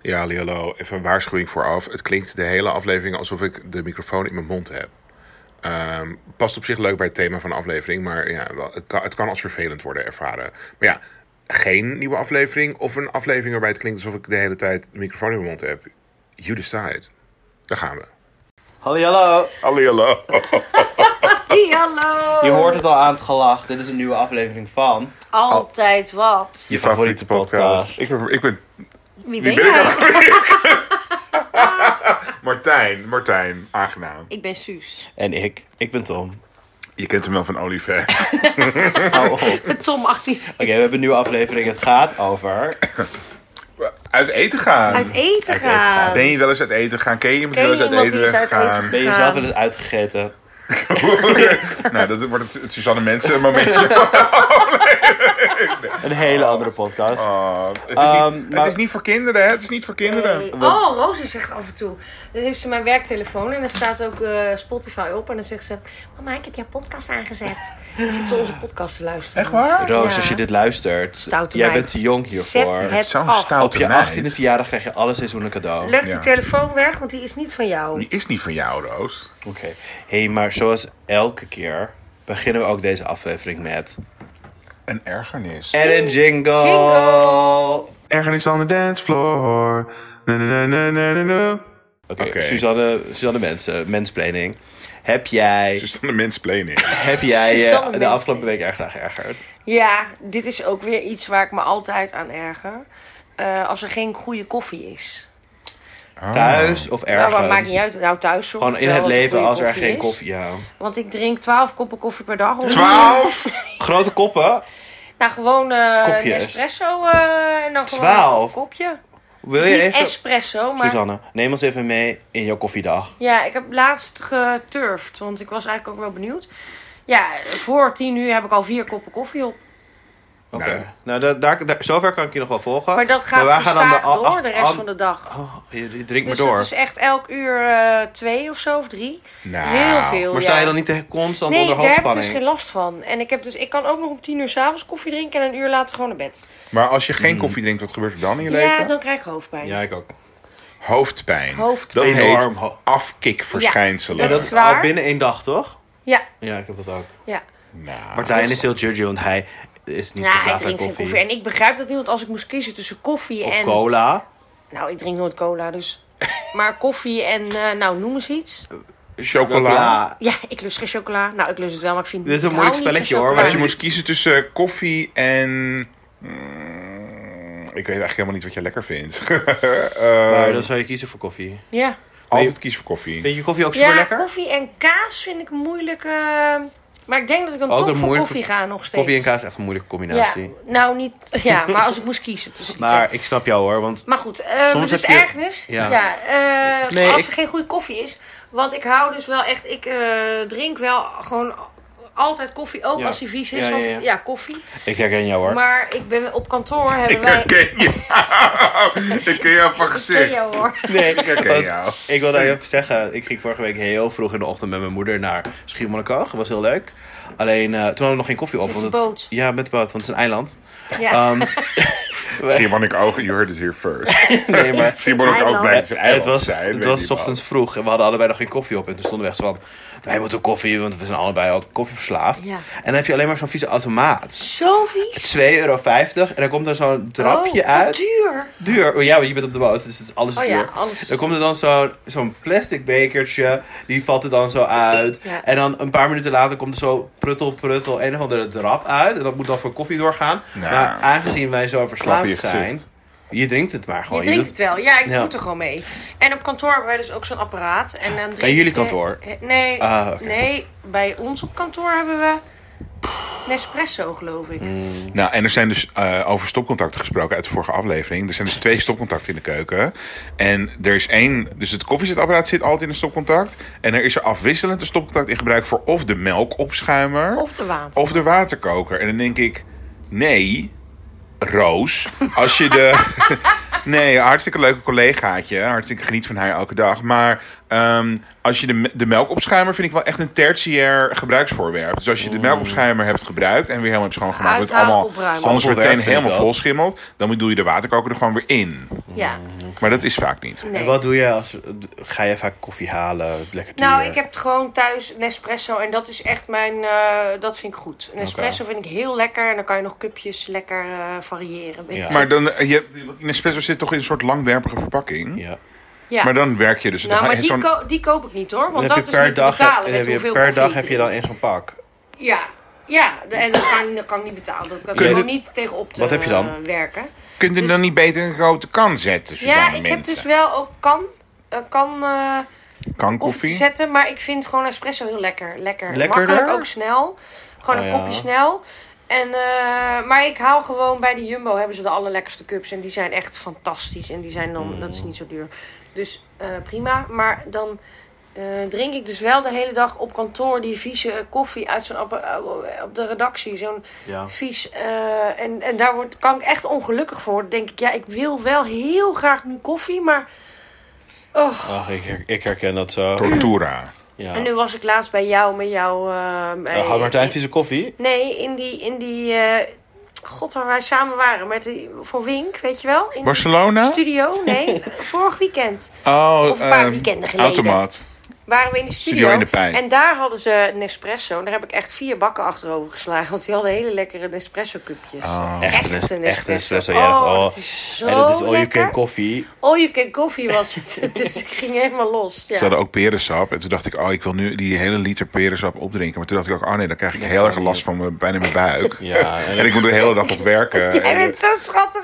Ja, hallo, hallo. Even een waarschuwing vooraf. Het klinkt de hele aflevering alsof ik de microfoon in mijn mond heb. Ehm, past op zich leuk bij het thema van de aflevering, maar ja, wel, het, kan, het kan als vervelend worden ervaren. Maar ja, geen nieuwe aflevering of een aflevering waarbij het klinkt alsof ik de hele tijd de microfoon in mijn mond heb. You decide. Daar gaan we. Hallo, hallo. Hallo, hallo. Hallo! Je hoort het al aan het gelach. Dit is een nieuwe aflevering van... Altijd wat. Je favoriete podcast. Ik ben, ik ben, Wie wie ben ben ik jij? ook? Martijn, Martijn, aangenaam. Ik ben Suus. En ik. Ik ben Tom. Je kent hem wel van OnlyFans. Hou op. Oké, Met Tom actief. we hebben een nieuwe aflevering. Het gaat over... Uit eten gaan. Uit eten eten gaan. gaan. Ben je wel eens uit eten gegaan? Ken je iemand die Ken wel eens je uit iemand eten die eens uit gegaan? eten Ben je zelf wel eens uitgegeten? nou, dat wordt het, het Suzanne Mensen momentje. Een hele andere podcast. Oh, het, is Ehm, niet, het maar- is niet voor kinderen, hè? Het is niet voor kinderen. Nee. Oh, Roze zegt af en toe. Dan heeft ze mijn werktelefoon en dan staat ook eh, Spotify op. En dan zegt ze: Mama, ik heb jouw podcast aangezet. Dan zit ze onze podcast te luisteren. Echt waar? Roos, Ja. als je dit luistert, Stoute jij meid. bent te jong hiervoor. Zet Het het is zo'n af. Op stoute je meid. 18e verjaardag krijg je alle seizoenen cadeau. Oké. Leg die Ja. telefoon weg, want die is niet van jou. Die is niet van jou, Roos. Hé, hey, maar zoals elke keer beginnen we ook deze aflevering met... Een ergernis. En een jingle! Jingle. Ergernis on the dance floor. Na, na, na, na, na, na. Oké, Oké. Suzanne, Suzanne Mensen, mensplanning. Heb jij, Dus dan de mensplanning. heb jij eh, Suzanne de Mens- afgelopen week erg aan geërgerd? Ja, dit is ook weer iets waar ik me altijd aan erger. Eh, als er geen goede koffie is. Thuis of Nou, ergens? maar maakt niet uit. Nou, thuis zorg Dus Gewoon ik in wel het dat leven goede als er geen is. koffie... Ja. Want ik drink 12 koppen koffie per dag. Twaalf! Grote koppen? Nou, gewoon eh een Kopjes. espresso eh, en dan gewoon 12? een kopje. Wil je Niet even... espresso, maar... Suzanne, neem ons even mee in jouw koffiedag. Ja, ik heb laatst geturfd, want ik was eigenlijk ook wel benieuwd. Ja, voor 10 uur heb ik al vier koppen koffie op. Oké. Nou. Nou, da- daar, daar- zover kan ik je nog wel volgen. Maar dat gaat wij gestaag a- door acht- de rest an- van de dag. Oh, je, je drinkt Dus maar door. dat is echt elk uur eh, twee of zo, of drie. Nou, Heel veel, Maar ja. sta je dan niet tegen constant Nee, onder daar heb ik dus hoogspanning? geen last van. En ik, heb dus, ik kan ook nog om tien uur s'avonds koffie drinken en een uur later gewoon naar bed. Maar als je geen koffie drinkt, wat gebeurt er dan in je Ja, leven? dan krijg ik hoofdpijn. Ja, ik ook. Hoofdpijn. Hoofdpijn. Dat heet Enorm ho- afkikverschijnselen. Ja, dat is is waar. al binnen één dag, toch? ja. Ja, ik heb dat ook. ja. Nou, Martijn dat is heel judgy, want hij is niet Ja, verslaafd hij aan drinkt geen koffie. koffie. En ik begrijp dat niet, want als ik moest kiezen tussen koffie Of en... cola. Nou, ik drink nooit cola, dus... Maar koffie en, eh, nou, noem eens iets. Chocola. Ja, ik lust geen chocola. Nou, ik lust het wel, maar ik vind... Dit is een ik moeilijk hou niet van spelletje, Als hoor, je chocola. maar- moest kiezen tussen eh, koffie en. mm, ik weet eigenlijk helemaal niet wat je lekker vindt. Eh, Maar dan zou je kiezen voor koffie. Ja, altijd kies voor koffie. Vind je koffie ook super ja lekker? koffie en kaas vind ik moeilijk... eh, Maar ik denk dat ik dan Ook toch een voor moeilijke- koffie ga nog steeds. Koffie en kaas is echt een moeilijke Ja, combinatie. nou niet... Ja, maar als ik moest kiezen tussen die twee. Maar ik snap jou hoor, want Maar goed, eh Soms Soms dus heb je- ergens. Ja. Ja. eh, Nee, als ik- er geen goede koffie is. Want ik hou dus wel echt. Ik eh, drink wel gewoon altijd koffie. Ook Ja. als die vies is. Ja, ja, want ja. ja, koffie. ik herken jou hoor. Maar ik ben op kantoor. Hebben Ik wij. herken jou. ik ken jou van Ik ken gezicht. jou hoor. Nee, Ik herken want jou. ik wil daar even zeggen, ik ging vorige week heel vroeg in de ochtend met mijn moeder naar Schiermonnikoog. Dat was heel leuk. Alleen eh, toen hadden we nog geen koffie op. Met want de het- boot. ja, met de boot, want het is een eiland. Ja. Ehm, Simon, ik oog, you heard it here first. nee, maar Simon, ik ook Eiland. blij dat ze het eiland was, zijn. het weet was niet 's ochtends vroeg en we hadden allebei nog geen koffie op. En toen stonden we echt zo van, wij moeten koffie, want we zijn allebei al koffieverslaafd. Ja. En dan heb je alleen maar zo'n vieze automaat. Zo vies. 2,50 euro en dan komt er zo'n drapje Oh, wat uit. duur. Duur. Oh, ja, want je bent op de boot, dus het is alles Oh duur. ja, alles is Dan komt er dan zo'n zo'n plastic bekertje, die valt er dan zo uit. Ja. En dan een paar minuten later komt er zo pruttel, pruttel, een of andere drap uit. En dat moet dan voor koffie doorgaan. Nou. maar aangezien wij zo Klap je verslaafd gezicht. zijn, je drinkt het maar gewoon. Je drinkt doet- het wel. Ja, ik Ja. moet er gewoon mee. En op kantoor hebben wij dus ook zo'n apparaat. En dan drink jullie je- kantoor? Nee, Ah, oké. nee, bij ons op kantoor hebben we Nespresso, geloof ik. wel. Nou, en er zijn dus eh, over stopcontacten gesproken uit de vorige aflevering. Er zijn dus twee stopcontacten in de keuken. En er is één, dus het koffiezetapparaat zit altijd in een stopcontact. En er is er afwisselend een stopcontact in gebruik voor of de melkopschuimer. Of de water. Of de waterkoker. En dan denk ik, nee, Roos, als je de... Nee, hartstikke leuke collegaatje. Hartstikke geniet van haar elke dag. Maar ehm, als je de, me- de melkopschuimer vind ik wel echt een tertiair gebruiksvoorwerp. Dus Mm. als je de melkopschuimer hebt gebruikt en weer helemaal hebt schoongemaakt, dat het Uithaal allemaal opruimen. anders wordt Appelwerk meteen vind ik helemaal dat. Mm. vol schimmelt, dan doe je de waterkoker er gewoon weer in. Ja. Maar dat is vaak niet. Nee. En wat doe je als... Ga je vaak koffie halen? Lekker duur? Nou, ik heb het gewoon thuis Nespresso en dat is echt mijn, eh, dat vind ik goed. Nespresso vind ik heel lekker en dan kan je nog cupjes lekker eh, variëren. weet Ja. je. Maar dan, eh, je, hebt- want in espresso zit toch in een soort langwerpige verpakking. Ja. ja. Maar dan werk je dus. nou, dan maar is die, zo'n- ko- die koop ik niet hoor, want Dan dat heb is je per niet dag, te betalen heb, met heb je, hoeveel per koffie dag ik heb je drink. dan in zo'n pak. Ja, ja. En dat kan, dat kan ik niet betalen. Dat kan ik Kun je gewoon de- niet tegen op te Wat heb je dan? eh, werken. Kun je hem dan niet beter in een grote kan zetten? Ja, Suzanne, ik heb mensen? dus wel ook kan, eh, kan eh, kan koffie te koffie. zetten, maar ik vind gewoon espresso heel lekker. Lekker. Lekkerder? Makkelijk, ook snel. Gewoon Oh een ja. kopje snel. En, eh, maar ik haal gewoon bij de Jumbo hebben ze de allerlekkerste cups. En die zijn echt fantastisch. En die zijn dan, dat Mm. is niet zo duur. Dus eh, prima. Maar dan eh, drink ik dus wel de hele dag op kantoor die vieze eh, koffie uit zo'n appa- eh, op de redactie. Zo'n Ja. vies. eh, en, en daar word, kan ik echt ongelukkig voor. worden. denk ik, ja, ik wil wel heel graag mijn koffie, maar. Oh, Ach, ik, her- ik herken dat zo. Tortura. Ja. en nu was ik laatst bij jou, met jou... eh bij- Eh, had Martijn vieze koffie? Nee, in die... In die eh, God, waar wij samen waren. Met die, voor Wink, weet je wel? In de Barcelona? studio? Nee, vorig weekend Oh, Of een paar eh, weekenden geleden. Automaat. waren we in de studio. Studio in de Pijn. En daar hadden ze Nespresso. En daar heb ik echt vier bakken achterover geslagen. Want die hadden hele lekkere Nespresso-cupjes. Oh. Ah, Echt Echt een een- echt een espresso. espresso, ja. Oh, Oh. dat is zo en dat is all you lekker. can koffie. All you can coffee was het. dus ik ging helemaal los. Ja. Ze hadden ook perensap. En toen dacht ik, oh, ik wil nu die hele liter perensap opdrinken. Maar toen dacht ik ook, oh nee, dan krijg ik heel kan erg last niet. van mijn, bijna mijn buik. Ja, En ik moet de hele dag op werken. Jij En bent ik zo schattig.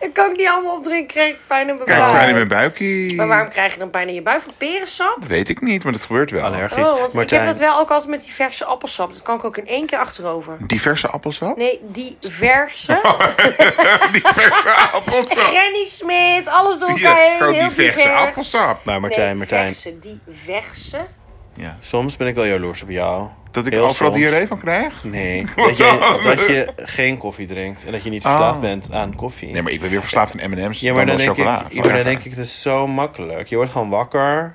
Ik kan ik niet allemaal opdrinken. Kreeg ik pijn in mijn krijg buik. pijn in mijn buikie. Maar waarom krijg je dan pijn in je buik van perensap? Dat weet ik niet, maar dat gebeurt wel. allergisch. Oh, want ik heb Martijn, dat wel ook altijd met die verse appelsap. Dat kan ik ook in één keer achterover. Diverse appelsap? Nee, die Oh. verse. Diverse appelsap. Granny Smit, alles door elkaar Ja, heen. gewoon heel diverse divers. appelsap. maar Martijn, nee, Martijn. Verse, die verse. Ja. Soms ben ik wel jaloers op jou. Dat ik Heel overal soms. diarree van krijg? Nee, Wat dat je, dan? dat je geen koffie drinkt en dat je niet verslaafd Oh. bent aan koffie. Nee, maar ik ben weer verslaafd aan M&M's. ja, maar dan, denk ik, chocola. ja, maar dan denk ik, het is zo makkelijk. Je wordt gewoon wakker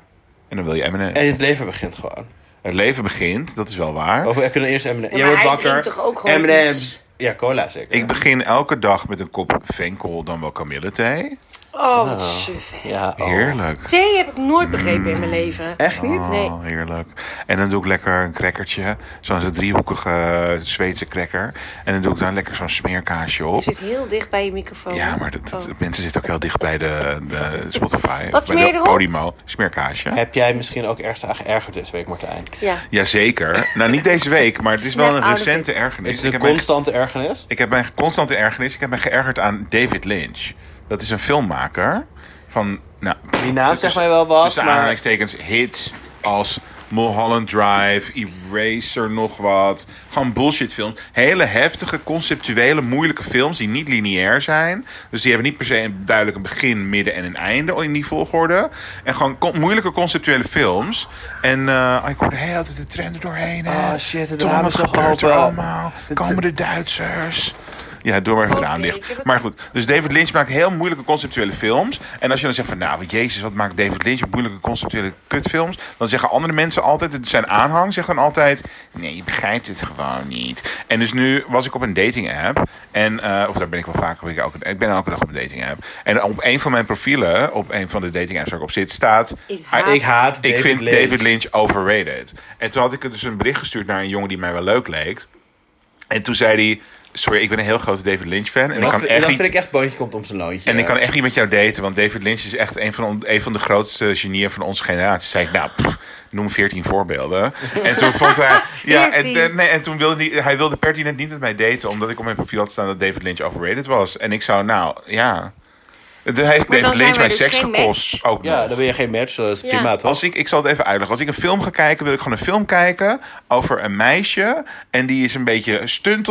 En dan wil je M&M's. en het leven begint gewoon. Het leven begint, dat is wel waar. Of we kunnen eerst M&M's. maar je wordt hij wakker. drinkt toch ook gewoon M&M's. iets? Ja, cola zeker. Ik begin elke dag met een kop venkel dan wel kamillethee. Oh, wat suf. hè. ja, oh. Heerlijk. Thee heb ik nooit begrepen in mijn leven. Echt niet? Nee. Oh, heerlijk. En dan doe ik lekker een crackertje. Zo'n zo'n driehoekige Zweedse cracker. En dan doe ik daar lekker zo'n smeerkaasje Je op. zit heel dicht bij je microfoon. Ja, maar dat, dat- Oh. mensen zitten ook heel dicht bij de, de Spotify. Wat bij smeer de je erop? Podimo. Smeerkaasje. Heb jij misschien ook ergens aan geërgerd deze week, Martijn? Ja. Jazeker. Nou, niet deze week, maar het is Snap wel een out of it. recente ergernis. Is Ik het een heb, mij, constante ergernis? ik heb mij constante ergernis. Ik heb mij geërgerd aan David Lynch. Dat is een filmmaker van... Nou, Die naam tussen- zegt mij wel wat, Tussen maar... aanhalingstekens hits als Mulholland Drive, Eraser nog wat. Gewoon bullshit films. Hele heftige, conceptuele, moeilijke films die niet lineair zijn. Dus die hebben niet per se een, duidelijk een begin, midden en een einde in die volgorde. En gewoon con- moeilijke conceptuele films. En eh, oh, ik hoorde heel altijd de trend er doorheen. hè. Ah, shit, het Tom, raam wat is nog gebeurt er open. allemaal? Het- Komen de Duitsers? Ja, doe maar even het raam Oké, Oh, ik dicht. heb het Maar goed, dus David Lynch maakt heel moeilijke conceptuele films. En als je dan zegt van, nou, jezus, wat maakt David Lynch moeilijke conceptuele kutfilms? Dan zeggen andere mensen altijd, het zijn aanhang, zegt dan altijd, nee, je begrijpt het gewoon niet. En dus nu was ik op een dating app. En, eh, of daar ben ik wel vaker, ben ik, elke, ik ben elke dag op een dating app. En op een van mijn profielen, op een van de dating apps waar ik op zit, staat... ah, Ik haat- Ik haat Ik David vind Lynch. David Lynch overrated. En toen had ik dus een bericht gestuurd naar een jongen die mij wel leuk leek. En toen zei hij... Sorry, ik ben een heel grote David Lynch fan. En ik Dat kan vind- echt dat niet... vind ik echt boontje komt om zijn loontje. En ik kan echt niet met jou daten, want David Lynch is echt een van, on- een van de grootste genieën van onze generatie. Zei ik, nou, pff, noem veertien voorbeelden. En toen vond hij. Ja, en, 14. en- nee, en toen wilde hij, hij wilde pertinent niet met mij daten, omdat ik op mijn profiel had staan dat David Lynch overrated was. En ik zou, nou, ja. Toen heeft dan David Lynch zijn mij wij dus seks geen gekost. Ook Ja, nog. dan ben je geen match, eh, dat is Ja. prima toch? Als ik, ik zal het even uitleggen. Als ik een film ga kijken, wil ik gewoon een film kijken over een meisje. En die is een beetje een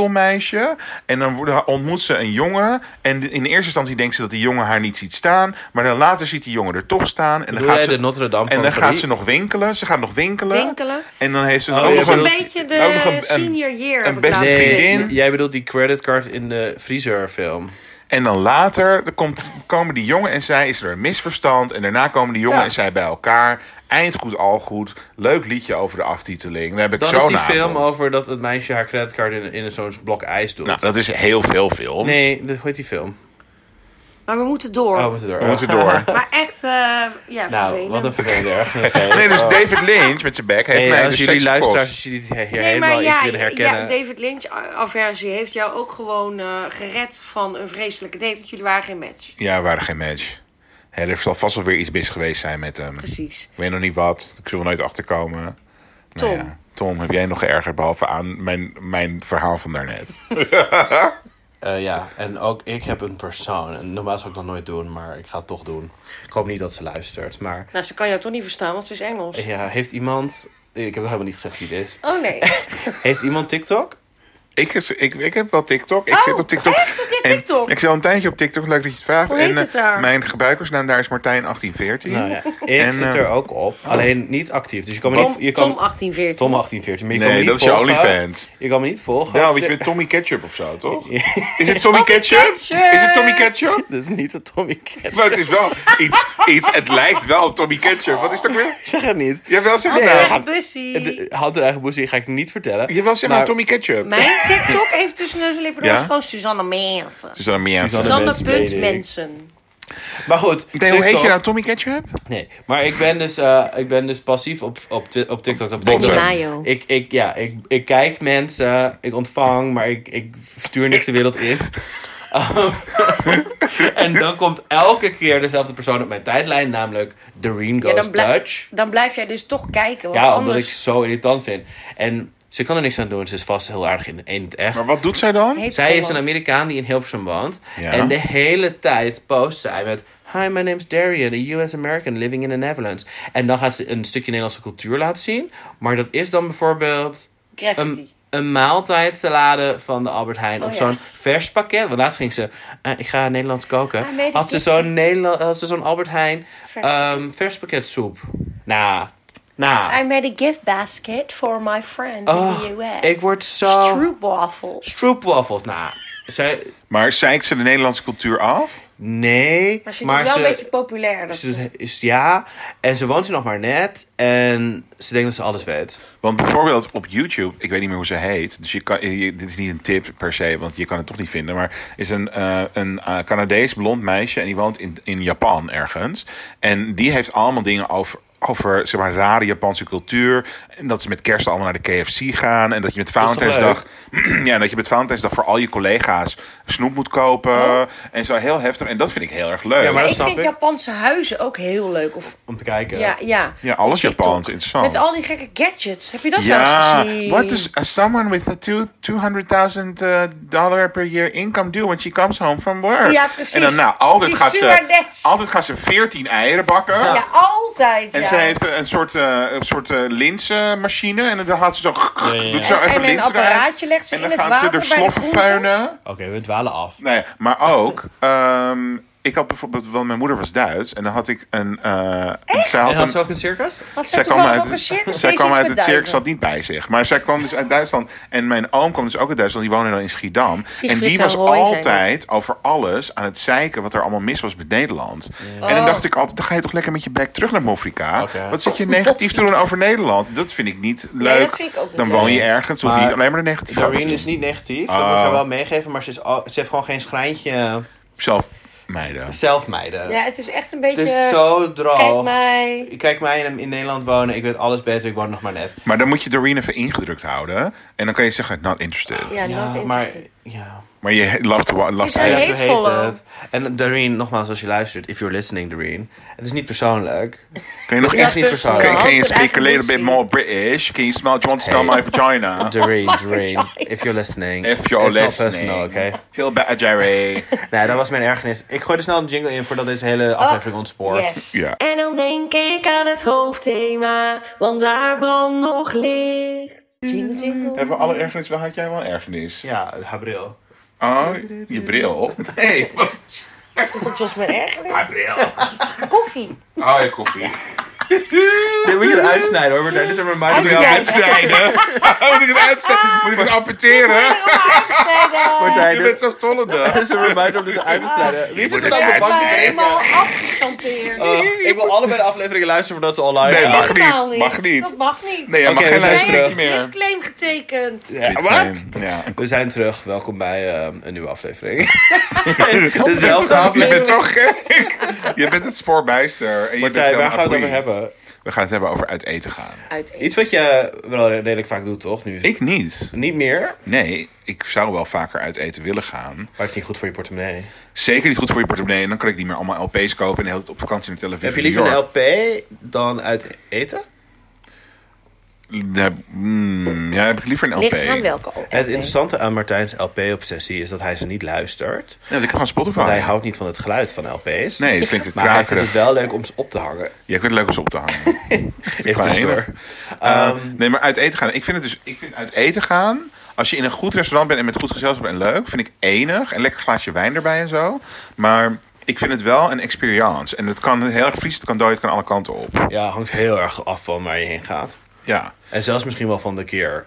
stuntelmeisje. En dan worden- ontmoet ze een jongen. En in eerste instantie denkt ze dat die jongen haar niet ziet staan. Maar dan later ziet die jongen er toch staan. En dan, Bedoel gaat jij ze, de Notre Dame en van dan gaat Parijs? ze nog winkelen. Ze gaat nog winkelen. Winkelen? En dan heeft ze Oh, ook je nog Dat is een een... bedoelt- beetje ook de nog een- een- senior year. een heb ik beste laatst vriendin. gekeken. Jij bedoelt die creditcard in de vriezer film. En dan later er komt, komen die jongen en zij, is er een misverstand. En daarna komen die jongen Ja. en zij bij elkaar. Eind goed, al goed. Leuk liedje over de aftiteling. Dan heb ik Dan zo'n is die avond. film over dat het meisje haar creditcard in, in zo'n blok ijs doet. Nou, dat is heel veel films. nee, dat- hoe heet die film? Maar we moeten door. Oh, wat door. We moeten door. Maar echt, eh, ja, Nou, vervelend. wat een vervelende ergernis. hè. Nee, dus David Lynch met zijn bek heeft Hey, mij als dus jullie steeds luisteraars, gekost. als jullie dit hier Nee, helemaal maar in ja, kunnen ja, herkennen. David Lynch-aversie heeft jou ook gewoon eh, gered van een vreselijke date. Want jullie waren geen match. Ja, we waren geen match. Hè, er zal vast wel weer iets mis geweest zijn met hem. Precies. Ik weet nog niet wat. Ik zal er nooit achterkomen. Nou Tom. ja. Tom, heb jij nog geërgerd behalve aan mijn, mijn verhaal van daarnet? Eh, ja, en ook ik heb een persoon. En normaal zou ik dat nooit doen, maar ik ga het toch doen. Ik hoop niet dat ze luistert, maar... Nou, ze kan jou toch niet verstaan, want ze is Engels. Ja, heeft iemand... Ik heb nog helemaal niet gezegd wie dit is. Oh nee. Heeft iemand TikTok? Ik heb, ik, ik heb wel TikTok. Ik Oh, zit op TikTok. echt? Heb je En TikTok? Ik zit al een tijdje op TikTok. Leuk dat je het vraagt. Hoe heet en, eh, het daar? Mijn gebruikersnaam daar is Martijn1814. Nou ja, ik En, zit eh, er ook op. Alleen niet actief. Dus je kan me Tom, niet... Je kan, Tom 1814. Tom 1814. Maar je kan Nee, me dat niet is je volgen. OnlyFans. Je kan me niet volgen. Ja, want je bent Tommy Ketchup of zo, toch? Is het Tommy Ketchup? Ketchup! Is het Tommy Ketchup? Dat is niet de Tommy Cat. Maar het is wel iets, iets het lijkt wel op Tommy Ketchup. Wat is dat weer? Ik zeg het niet. Jawel, zeg Nee, het nou. ga- Eigen bussie. De- Hand en eigen boezem ga ik niet vertellen. Jawel, zeg nou Maar- Tommy Ketchup. Mijn TikTok even tussen neus en lippen door Ja? is gewoon Suzanne Mensen. Dus dan meer Suzanne- Suzanne Mens, punt meen ik. mensen. Maar goed. Nee, hoe heet je TikTok- nou Tommy Ketchup? Nee, maar ik ben dus, eh, ik ben dus passief op, op, Twi- op TikTok. Dat betekent Botsen. dat- Mayo. ik, ik, ja, ik, ik kijk mensen, ik ontvang, maar ik, ik stuur niks de wereld in. Um, en dan komt elke keer dezelfde persoon op mijn tijdlijn, namelijk Doreen Ja, Goes dan, blij- Dutch. dan blijf jij dus toch kijken. Want Ja, omdat anders ik ze zo irritant vind. En ze kan er niks aan doen, ze is vast heel aardig in, in het echt. Maar wat doet zij dan? heet Zij het is een gewoon. Amerikaan die in Hilversum woont. Ja. En de hele tijd post zij met... Hi, my name's Darian, a US American living in the Netherlands. En dan gaat ze een stukje Nederlandse cultuur laten zien. Maar dat is dan bijvoorbeeld Graffiti. een, een maaltijdsalade van de Albert Heijn. Oh, of ja. zo'n vers pakket. Want laatst ging ze... eh, ik ga Nederlands koken. Ah, nee, dat had, ze is zo'n niet. Nederla- had ze zo'n Albert Heijn Vers ehm vers pakket soep. Nou, nou. I made a gift basket for my friends Oh, in the US. ik word zo- Stroopwafels. Stroopwafels. Nou, zij... Maar zeikt ze de Nederlandse cultuur af? Nee, Maar ze is wel een beetje populair. Dat Dus Ze is, ja, en ze woont hier nog maar net. En ze denkt dat ze alles weet. Want bijvoorbeeld op YouTube, ik weet niet meer hoe ze heet. Dus je kan, je- dit is niet een tip per se, want je kan het toch niet vinden. Maar is een, eh, een eh, Canadees blond meisje en die woont in, in Japan ergens. En die heeft allemaal dingen over, over zeg maar, rare Japanse cultuur. En dat ze met kerst allemaal naar de KFC gaan. En dat je met is toch Valentijnsdag... Ja, en dat je met Valentijnsdag voor al je collega's snoep moet kopen. En zo heel heftig. En dat vind ik heel erg leuk. Oh. Ja, maar- dat ik snap vind ik. Japanse huizen ook heel leuk. Of, Om te kijken. ja, ja. Ja, alles TikTok. Japans, interessant. Met al die gekke gadgets. Heb je dat wel Ja, eens gezien? what does uh, someone with a two- 200.000 eh, dollar per year income do when she comes home from work? Ja, precies. En dan, nou, altijd Die gaat, ze, stewardess. altijd gaat ze 14 eieren bakken. Ja, altijd. En ja. ze heeft eh, een soort, eh, een soort eh, linzenmachine. En dan gaat ze zo. ja, ja. Doet zo En- even en een linzen eruit. apparaatje legt ze En in dan het gaan ze water er bij de sloffen groenten. vuinen. Oké, we dwalen af. Nee, maar ook. ehm, ik had bijvoorbeeld, want mijn moeder was Duits. En dan had ik een. eh, zij had En had ze een, ook een circus? Had zij zij kwam toevallig uit, ook een circus? zij Deed kwam ze iets uit met het circus, duiven? zat niet bij zich. Maar zij kwam dus uit Duitsland. En mijn oom kwam dus ook uit Duitsland. Die woonde dan in Schiedam. Siegfried en die en was Roy zijn altijd over alles aan het zeiken wat er allemaal mis was met Nederland. En dan Oh. dacht ik altijd, dan ga je toch lekker met je bek terug naar Mofrika. Oké. Wat zit je negatief te doen over Nederland? Dat vind ik niet leuk. dat vind ik ook niet dan leuk. woon je ergens, of Maar- niet alleen maar de negatieve. Doreen Doreen is niet negatief. Dat moet ik haar wel meegeven. Maar ze, is, al- ze heeft gewoon geen schrijntje Zelf meiden. zelfmeiden. Ja, het is echt een het beetje... is zo droog. Kijk mij. Ik Kijk mij in, in Nederland wonen. Ik weet alles beter. Ik woon nog maar net. Maar dan moet je Doreen even ingedrukt houden. En dan kan je zeggen, not interested. Ja, dat maar... interesting. Ja. Maar je love to, love is to een hate. Ja, zo Heetvolle. En Doreen, nogmaals, als je luistert. If you're listening, Doreen. Het is niet persoonlijk. Kan je nog Het is echt echt niet persoonlijk. Can, can you Altijd speak a little bit evolutie. more British? Can you smell? Do you want to smell my vagina? Doreen, Oh my Doreen, vagina. if you're listening. If you're it's listening, not personal, oké? Feel better, Jerry. Nee, dat was mijn ergernis. Ik gooi er snel een jingle in voordat deze Oh, hele aflevering ontspoort. Yes. Ja. En dan denk ik aan het hoofdthema, want daar brandt nog licht. Jingle, jingle. Hebben we alle ergernis? Waar had jij wel ergernis? Ja, haar bril. Oh, je bril. Nee, wat Ah. Dat was mijn ergernis. bril? Koffie. Oh, je koffie. Dit moet je eruit snijden hoor. Maar dat is er maar Moet ik Martijn. het Uitsnijden. uitsnijden? Moet ik het uitsnijden? Moet ik het amputeren? Martijn, Je bent dit- zo dat tollende. is er maar Martijn om dit uit te snijden. Wie zit er Ah. moet nou op de dit bank te uitzenden. drinken? helemaal afgestanteerd. Oh, ik wil allebei de afleveringen luisteren voordat ze online Nee, gaan. mag Totaal niet. Mag niet. Dat mag niet. Nee, jij mag Oké, dus- geen we zijn luisteren terug. Hij heeft meer. claim getekend. Ja, wat? Bitcoin. Ja. We zijn terug. Welkom bij ehm, een nieuwe aflevering. Dezelfde Je bent aflevering. zo gek. Je bent het spoorbijster. En je bent Martijn, helemaal waar gaan we het queen. over hebben? We gaan het hebben over uit eten gaan. Uit Iets wat je wel redelijk vaak doet, toch? Nu Ik niet. niet meer, Nee, ik zou wel vaker uit eten willen gaan. maar het is niet goed voor je portemonnee. Zeker niet goed voor je portemonnee. En dan kan ik niet meer allemaal LP's kopen en de hele tijd op vakantie met televisie. Heb je liever een LP dan uit eten? De- mm, ja, heb ik liever een LP. Ligt eraan welke ook. Het interessante aan Martijn's LP-obsessie is dat hij ze niet luistert. Ja, want ik heb gewoon Spotify. Want hij houdt niet van het geluid van LP's. Ah. Nee, dat vind ik Maar hij vindt krakerig. het wel leuk om ze op te hangen. Ja, ik vind het leuk om ze op te hangen. Even Qua tussendoor. Eh, Um, nee, maar uit eten gaan. Ik vind het dus, ik vind uit eten gaan. Als je in een goed restaurant bent en met goed gezelschap en leuk, vind ik enig. En lekker glaasje wijn erbij en zo. Maar ik vind het wel een experience. En het kan heel erg vries, het kan dood, het kan alle kanten op. Ja, hangt heel erg af van waar je heen gaat. Ja. En zelfs misschien wel van de keer.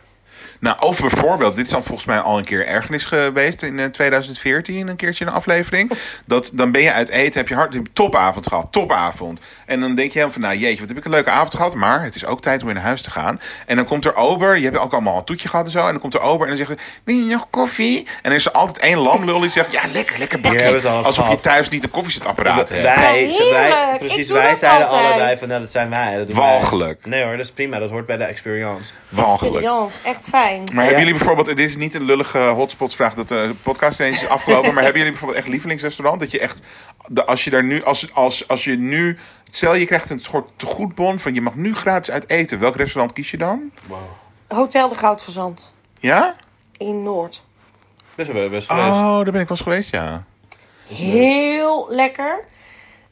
Nou, of bijvoorbeeld, dit is dan volgens mij al een keer ergernis geweest in eh, 2014, een keertje een aflevering. Dat dan ben je uit eten, heb je hard, heb je topavond gehad, topavond. En dan denk je helemaal van, nou jeetje, wat heb ik een leuke avond gehad, maar het is ook tijd om weer naar huis te gaan. En dan komt er ober, je hebt ook allemaal een toetje gehad en zo, en dan komt er ober en dan zegt hij, wil je nog koffie? En dan is er altijd één lamlul die zegt, ja lekker, lekker Hier hebben bakje. we het al Alsof je gehad. thuis niet een koffiezetapparaat hebt. Wij, Ja, heerlijk. wij, Ik precies, doe wij dat zeiden altijd. allebei van nou, dat zijn wij. Dat doen wij. Walgelijk. Nee hoor, dat is prima. Dat hoort bij de experience. Walgelijk. Briljant, echt fijn. Maar hebben Ja. jullie bijvoorbeeld, dit is niet een lullige hotspotsvraag dat de podcast ineens is afgelopen, maar hebben jullie bijvoorbeeld echt lievelingsrestaurant? Dat je echt, de- als je daar nu, als, als, als je nu, stel je krijgt een soort tegoedbon van je mag nu gratis uit eten, welk restaurant kies je dan? Wow. Hotel de Goudverzand Ja? in Noord. Best wel best geweest. Oh, daar ben ik wel eens geweest, ja. Heel lekker.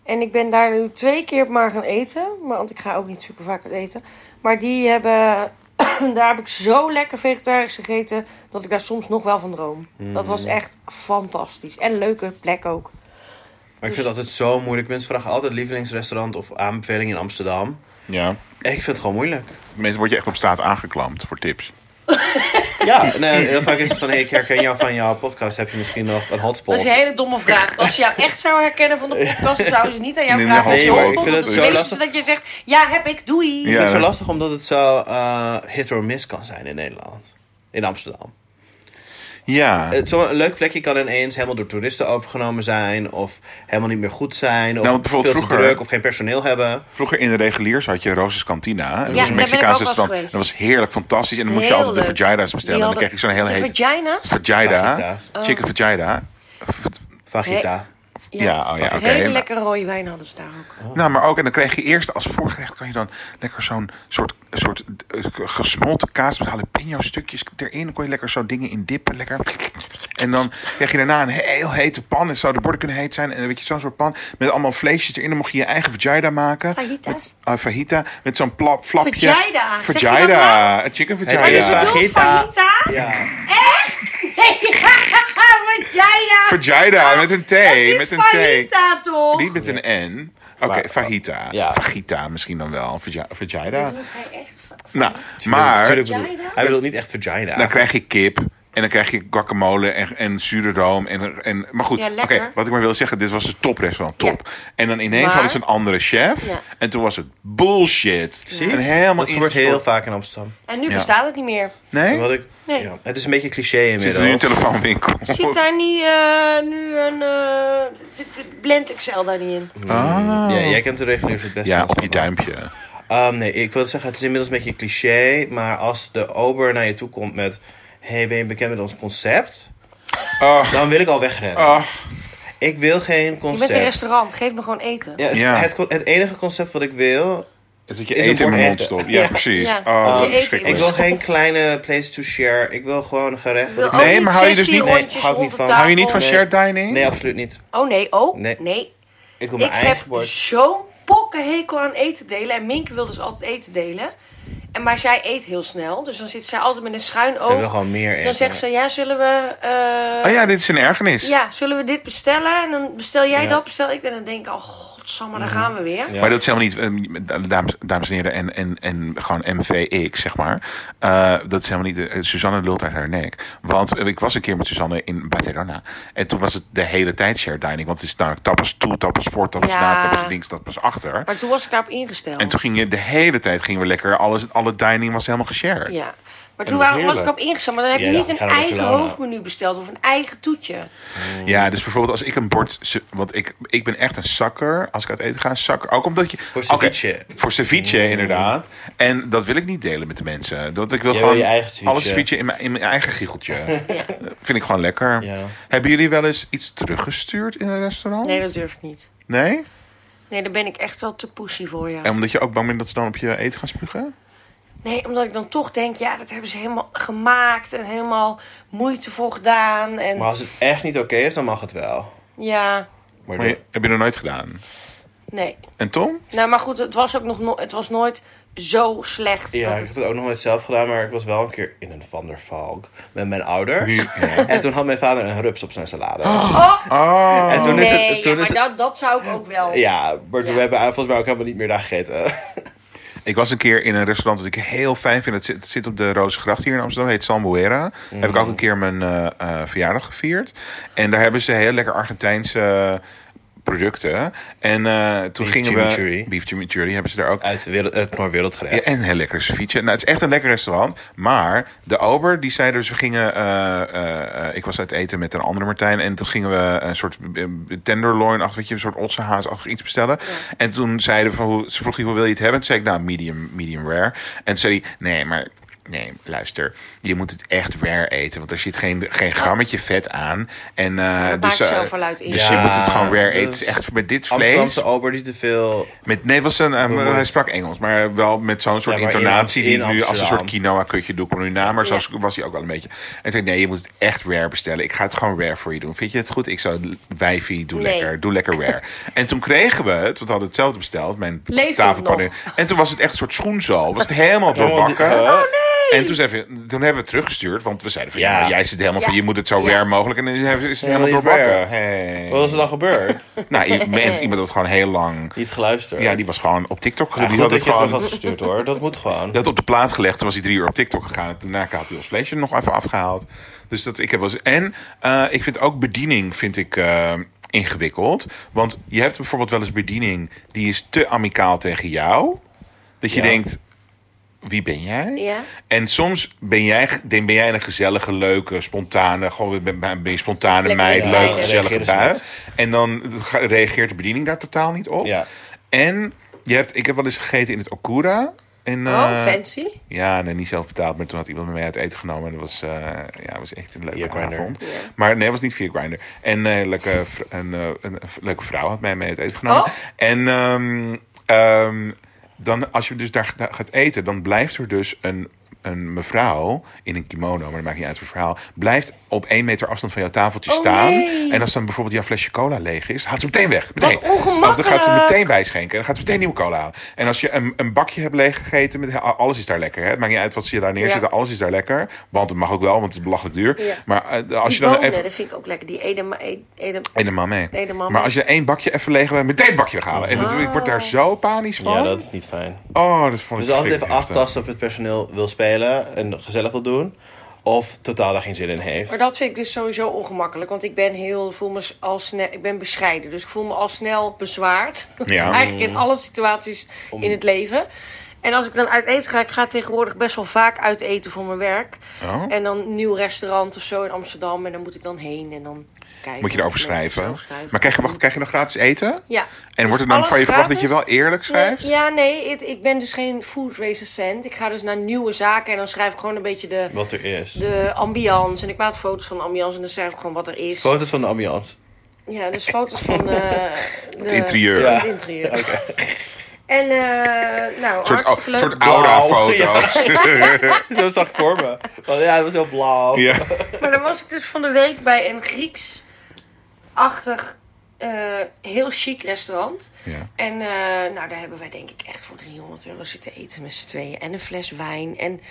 En ik ben daar nu twee keer maar gaan eten. Maar, want ik ga ook niet super vaak uit eten. Maar die hebben... daar heb ik zo lekker vegetarisch gegeten... dat ik daar soms nog wel van droom. Mm. Dat was echt fantastisch. En een leuke plek ook. Maar ik vind het altijd zo moeilijk. Mensen vragen altijd lievelingsrestaurant of aanbeveling in Amsterdam. Ja. En ik vind het gewoon moeilijk. Mensen word je echt op straat aangeklampt voor tips. Ja, nee, heel vaak is het van, hey, ik herken jou van jouw podcast. Heb je misschien nog een hotspot? Dat is een hele domme vraag. Als ze jou echt zou herkennen van de podcast... zou ze niet aan jou Nee, vragen. nee, of je nee, hotpot ik vind doet. het Dan zo wisten lastig. ze dat je zegt... Ja, heb ik. Doei. Ik Ja. vind het zo lastig omdat het zo eh, hit or miss kan zijn in Nederland. In Amsterdam. Eh, Ja. Het- Zo'n leuk plekje kan ineens helemaal door toeristen overgenomen zijn. Of helemaal niet meer goed zijn. Of Nou, want bijvoorbeeld veel te vroeger- druk of geen personeel hebben. Vroeger in de reguliers had je Roos's Cantina. En dat Ja, was een daar ben ik ook Mexicaanse wel eens restaurant. geweest. Dat was heerlijk, fantastisch. En dan moest je Heel altijd de leuk. vaginas Die bestellen. En dan hadden- kreeg ik zo'n hele de hete... vagina's? Vagina. Fajitas. Chicken vagina. Vagita. Ja, oh ja, oké. Hele maar- lekkere rode wijn hadden ze daar ook. Nou, maar ook, en dan kreeg je eerst als voorgerecht, kan je dan lekker zo'n soort, soort eh, gesmolten kaas met jalapeno stukjes erin. Dan kon je lekker zo dingen in dippen, lekker. En dan kreeg je daarna een heel hete pan. En zou de borden kunnen heet zijn. En dan weet je, zo'n soort pan met allemaal vleesjes erin. Dan mocht je je eigen vagina maken. Fajitas? Met, eh, fajita, met zo'n plap, flapje. Vagina, zeg je dat nou? Vagina, een chicken Heb je vagina. zo'n- Doe Vagita. fajita? Ja. Vagina! Vagina, met een T, met een T. Oh, Fajita toch? Niet met een N. Oké, Maar- fajita. Ja. Fajita misschien dan wel. Vagi- Vagina. Doet hij echt fa- Nou, maar... Nou, Tuurlijk bedoel- Vagina? hij bedoelt niet echt vagina. Dan krijg je kip. En dan krijg je guacamole en, en zure room. En, en, maar goed, Ja, oké, lekker. wat ik maar wil zeggen, dit was een toprestaurant, top. En dan ineens Maar- hadden ze een andere chef. Ja. En toen was het bullshit. Zie je? En helemaal dat gebeurt ingestort. heel vaak in Amsterdam. En nu Ja. bestaat het niet meer. Nee? Wat ik, Nee. ja, het is een beetje cliché Zit er nu een inmiddels. telefoonwinkel? Zit daar niet eh, nu een... eh, zit Blend Excel daar niet in? Ah. Ja, jij kent de reguliers het beste. Ja, in op je Amsterdam. duimpje. Ehm, nee, ik wil zeggen, het is inmiddels een beetje cliché. Maar als de ober naar je toe komt met... hey, ben je bekend met ons concept? Ach. Dan wil ik al wegrennen. Ah, Ik wil geen Je bent concept. een restaurant, geef me gewoon eten. ja, het, Ja. het, het enige concept wat ik wil... is dat je Is eten een in mijn bord mond eten. stopt. Ja, Ja. precies. Ja. Oh, Je eten in Ik verschrikkelijk. wil Stop. geen kleine place to share. Ik wil gewoon een gerecht. Wil dat ik- ook Nee, niet maar hou je dus 16 niet- nee, rondjes hou ik rond niet de van. Hou je niet van tafel? Nee. shared dining? Nee, absoluut niet. Oh nee, oh Nee. nee. Ik wil Ik mijn eigen heb bord. zo'n pokkenhekel aan eten delen. En Minke wil dus altijd eten delen. En, maar zij eet heel snel. Dus dan zit zij altijd met een schuin Ze wil oog. gewoon meer eten. Dan zegt ze, ja, zullen we... eh, Oh ja, dit is een ergernis. Ja, zullen we dit bestellen? En dan bestel jij Ja. Mhm. dat, bestel ik. dat. En dan denk ik, oh god, Godsamme, daar gaan we weer. Ja. Maar dat is helemaal niet, ehm, dames, dames en heren, en, en, en gewoon MVX, zeg maar. Eh, dat is helemaal niet, eh, Suzanne lult uit haar nek. Want eh, ik was een keer met Suzanne in Barcelona. En toen was het de hele tijd share dining. Want het is namelijk tapas toe, tapas voor, tapas Ja. na, tapas links, tapas achter. Maar toen was ik daarop ingesteld. En toen ging je de hele tijd gingen we lekker, alles, alle dining was helemaal geshared. Ja. Maar toen dat was waren, was ik op heerlijk. ingesteld. Maar dan heb je Ja, niet ja, een gaan we eigen Barcelona. hoofdmenu besteld of een eigen toetje. Ja, dus bijvoorbeeld als ik een bord... ze- Want ik, ik ben echt een zakker. Als ik uit eten ga, zakker. Ook omdat je... Voor Oké, ceviche. Mm. voor ceviche, inderdaad. En dat wil ik niet delen met de mensen. Dat ik wil Jij wil gewoon je eigen ceviche. alles ceviche in mijn, in mijn eigen giecheltje. Ja. Vind ik gewoon lekker. Ja. Hebben jullie wel eens iets teruggestuurd in een restaurant? Nee, dat durf ik niet. Nee? Nee, daar ben ik echt wel te pushy voor, ja. En omdat je ook bang bent dat ze dan op je eten gaan spugen? Nee, omdat ik dan toch denk, ja, dat hebben ze helemaal gemaakt en helemaal moeite voor gedaan. En Maar als het echt niet oké is, dan mag het wel. ja, Maar Maar dat- je- heb je nog nooit gedaan. nee. En Tom? Nou, maar goed, het was ook nog no- het was nooit zo slecht. Ja, dat ik het- heb het ook nog nooit zelf gedaan, maar ik was wel een keer in een Van der Valk met mijn ouders. En toen had mijn vader een rups op zijn salade. Oh, Oh. en toen nee, is het, toen ja, maar is het- dat, dat zou ik ook wel. ja, maar toen Ja. hebben we volgens mij ook helemaal niet meer daar gegeten. Ik was een keer in een restaurant dat ik heel fijn vind. Het zit, het zit op de Rozengracht hier in Amsterdam. Het heet Sambuera. Mhm. Heb ik ook een keer mijn eh, eh, verjaardag gevierd. En daar hebben ze heel lekker Argentijnse producten. En eh, toen Beef gingen chimichurri. we... Beef chimichurri hebben ze daar ook. Uit de wereld, het Noordwereldgerecht. Ja, en een heel lekker ceviche. Nou, het is echt een lekker restaurant. Maar de ober, die zei dus... We gingen... eh, eh, eh, ik was uit eten met een andere Martijn. En toen gingen we een soort eh, tenderloin-achtig... Weet je, een soort ossehaas-achtig iets bestellen. En toen zeiden we van... Hoe, ze vroeg je, hoe wil je het hebben? Toen zei ik, nou, medium, medium rare. En toen zei hij, nee, maar... Nee, luister. Je moet het echt rare eten. Want er zit geen, geen grammetje vet aan. En, eh, dus, dat maakt eh, zelf wel uit in. Dus Ja, je moet het gewoon rare dat eten. is- Het is echt met dit vlees. Amsterdamse ober die te veel... Met, nee, het was een, eh, Hoe wordt- hij sprak Engels, maar wel met zo'n soort Ja, maar in- intonatie die in nu als een Amsterdam. soort quinoa-kutje doe ik hem nu na, maar zo was hij ook wel een beetje. En zei ik, nee, je moet het echt rare bestellen. Ik ga het gewoon rare voor je doen. Vind je het goed? Ik zou, wijfie, doe Nee. lekker, doe lekker rare. en toen kregen we het, want we hadden hetzelfde besteld, mijn Leefde het tafelpanneer. En toen was het echt een soort schoenzool, was het helemaal doorbakken. Helemaal die- En toen, zei we, toen hebben we het teruggestuurd, want we zeiden van, ja, Ja. maar jij zit helemaal van, Ja. je moet het zo Ja. rare mogelijk. En dan is het helemaal Helemaal niet doorbakken. rare. Hey. Wat is er dan gebeurd? Nou, iemand, iemand had gewoon heel lang... Niet geluisterd. Ja, die was gewoon op TikTok. Ja, die goed had dat je het het terug gewoon had gestuurd hoor. Dat moet gewoon. dat op de plaat gelegd. Toen was hij drie uur op TikTok gegaan. En daarna had hij ons vleesje nog even afgehaald. Dus dat ik heb wel eens- En eh, ik vind ook bediening vind ik, eh, ingewikkeld. Want je hebt bijvoorbeeld wel eens bediening die is te amicaal tegen jou. Dat je Ja. denkt, wie ben jij? Ja. En soms ben jij, denk, ben jij een gezellige, leuke, spontane... Gewoon ben, ben ben je spontane Lekker meid, in de leuk, lijn. gezellige Reageer dus bui. niet. En dan ga- reageert de bediening daar totaal niet op. Ja. En je hebt, ik heb wel eens gegeten in het Okura. In, Oh, eh, fancy. ja, nee, niet zelf betaald. Maar toen had iemand met mij uit eten genomen. En dat was, eh, ja, was echt een leuke Via Grindr. avond. Maar nee, het was niet via Grinder. En eh, leuke, vr- een, eh, een v- leuke vrouw had mij mee uit eten genomen. Oh. En ehm, ehm, dan, als je dus daar daar gaat eten, dan blijft er dus een, een mevrouw in een kimono, maar dat maakt niet uit voor het verhaal, blijft op één meter afstand van jouw tafeltje Oh, staan. nee. En als dan bijvoorbeeld jouw flesje cola leeg is, haalt ze meteen weg. Meteen. ongemakkelijk. Of dan gaat ze meteen bijschenken. En dan gaat ze meteen nieuwe cola halen. En als je een, een bakje hebt leeggegeten, met, "Ah, alles is daar lekker. Hè? Het maakt niet uit wat ze je daar neerzetten, Ja. alles is daar lekker. Want het mag ook wel, want het is belachelijk duur. Ja. Maar eh, als Die je dan bonen, even... dat vind ik ook lekker. Die edema... ed- edem- En een mee. Helemaal Maar mee. als je één bakje even leeg hebt, meteen het bakje weghalen. En dat, ik word Ah. daar zo panisch van. Ja, dat is niet fijn. Oh, dat vond ik Dus altijd even verschrikkelijk. aftasten of het personeel wil spelen en gezellig wil doen. Of totaal daar geen zin in heeft. Maar dat vind ik dus sowieso ongemakkelijk. Want ik ben heel, voel me al snel, ik ben bescheiden. Dus ik voel me al snel bezwaard. Ja. Eigenlijk in alle situaties in het leven. En als ik dan uit eten ga, ik ga tegenwoordig best wel vaak uit eten voor mijn werk. Oh. En dan een nieuw restaurant of zo in Amsterdam. En dan moet ik dan heen en dan kijken. Moet je erover of mensen schrijven. zelf schrijven. Maar krijg je, wacht, krijg je nog gratis eten? Ja. En wordt er dan Dus van je alles verwacht dat je wel gratis? eerlijk schrijft? Nee, ja, nee, het- ik ben dus geen food recensent. Ik ga dus naar nieuwe zaken en dan schrijf ik gewoon een beetje de, Wat er is. de ambiance. En ik maak foto's van de ambiance en dan schrijf ik gewoon wat er is. Foto's van de ambiance. Ja, dus foto's van eh, de- Het interieur. Ja. Het interieur. En eh nou, Een soort, hartstikke een leuk. soort aura-foto's. Zo zag ik voor me. Want ja, dat was heel blauw. Ja. Maar dan was ik dus van de week bij een Grieks-achtig, eh, heel chic restaurant. Ja. En eh, nou, daar hebben wij denk ik echt voor 300 euro zitten eten met z'n tweeën. En een fles wijn. En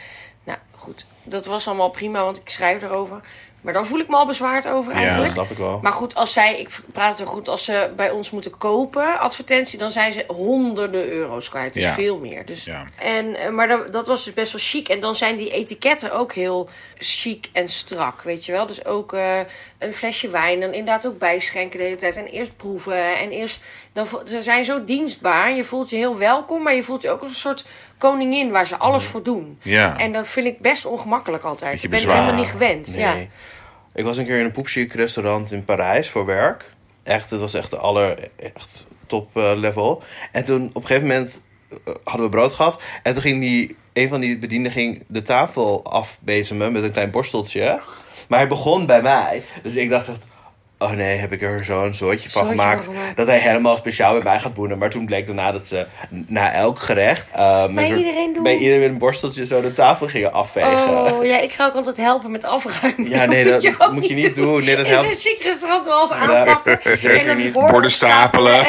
nou, goed, dat was allemaal prima, want ik schrijf erover. Maar daar voel ik me al bezwaard over dat eigenlijk. snap ik wel. Maar goed, als zij, ik praat er goed, als ze bij ons moeten kopen advertentie, dan zijn ze honderden euro's kwijt. Dus Ja. veel meer. Dus, Ja. en, eh, maar dat, dat was dus best wel chic. En dan zijn die etiketten ook heel chic en strak, weet je wel. Dus ook eh, een flesje wijn, dan inderdaad ook bijschenken de hele tijd. En eerst proeven. En eerst, dan, vo- ze zijn zo dienstbaar. Je voelt je heel welkom, maar je voelt je ook als een soort koningin waar ze alles voor doen. Mhm. Ja. En dat vind ik best ongemakkelijk altijd. Beetje Dat ben ik bezwaar. helemaal niet gewend. Ja. Nee. Ik was een keer in een poepchic restaurant in Parijs voor werk. Echt, het was echt de aller, echt top eh, level. En toen op een gegeven moment eh, hadden we brood gehad. En toen ging die, een van die bedienden ging de tafel afbezemen met een klein borsteltje. Maar hij begon bij mij. Dus ik dacht echt, oh nee, heb ik er zo'n soortje van Zootje gemaakt. van gemaakt. Dat hij helemaal speciaal bij mij gaat boenen. Maar toen bleek daarna dat ze na elk gerecht... eh, met Bij een soort- iedereen doen. Bij iedereen een borsteltje zo de tafel gingen afvegen. Oh, ja, ik ga ook altijd helpen met afruimen. Ja, nee, dat ook moet je niet doen. Nee, dat In helpt- zo'n chic restaurant wel als aanpakken. zeker en dan die niet. Borden stapelen.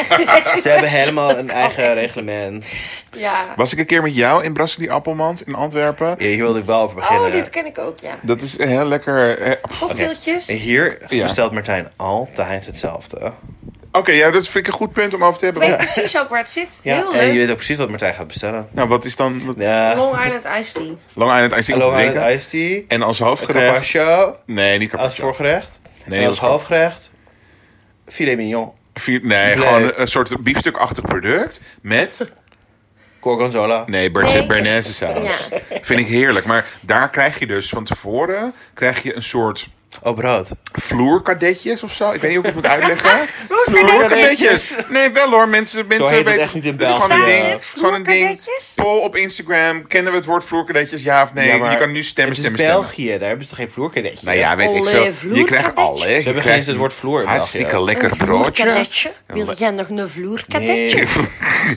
Ze hebben helemaal een Oh. eigen reglement. Ja. Was ik een keer met jou in Brasserie Appelmans in Antwerpen? Ja, hier wilde ik wel over beginnen. Oh, dit ken ik ook, ja. Dat is heel lekker. eh, Oké, Cocktailtjes. En hier Ja. bestelt Martijn altijd hetzelfde. ja, dat vind ik een goed punt om over te Ik hebben. weet precies ook waar het zit. Heel en je leuk. weet ook precies wat Martijn gaat bestellen. Nou, wat is dan wat, Ja. Long Island Iced Tea. Long Island Ice Tea om te Hallo aan drinken? het iced tea. En als hoofdgerecht... Carpaccio Nee, niet als carpaccio. voorgerecht. Nee, en als dat is- hoofdgerecht filet mignon, Vier- Nee, Nee. gewoon een- een soort biefstukachtig product met... gorgonzola. Nee, ber Nee. Bernaise saus. Ja. Vind ik heerlijk. Maar daar krijg je dus van tevoren krijg je een soort Oh, brood. vloerkadetjes of zo. Ik weet niet hoe ik het moet uitleggen. Vloerkadetjes. Vloerkadetjes. Nee, wel hoor. Mensen, mensen heet het weten- echt niet in het is België. gewoon een ding. Bestaat Het is gewoon een ding. vloerkadetjes? Poll op Instagram. Kennen we het woord vloerkadetjes? Ja of nee? Ja, maar je kan nu stemmen, het is stemmen, stemmen. België, daar hebben ze toch geen vloerkadetje? Nou ja, weet ik Alle veel. Je vloerkadetjes. krijgt alle. Ze Je hebben krijgt geen- het woord vloer in Hartstikke België. lekker broodje. Vloerkadetje. Wil jij nog een vloerkadetje? Nee,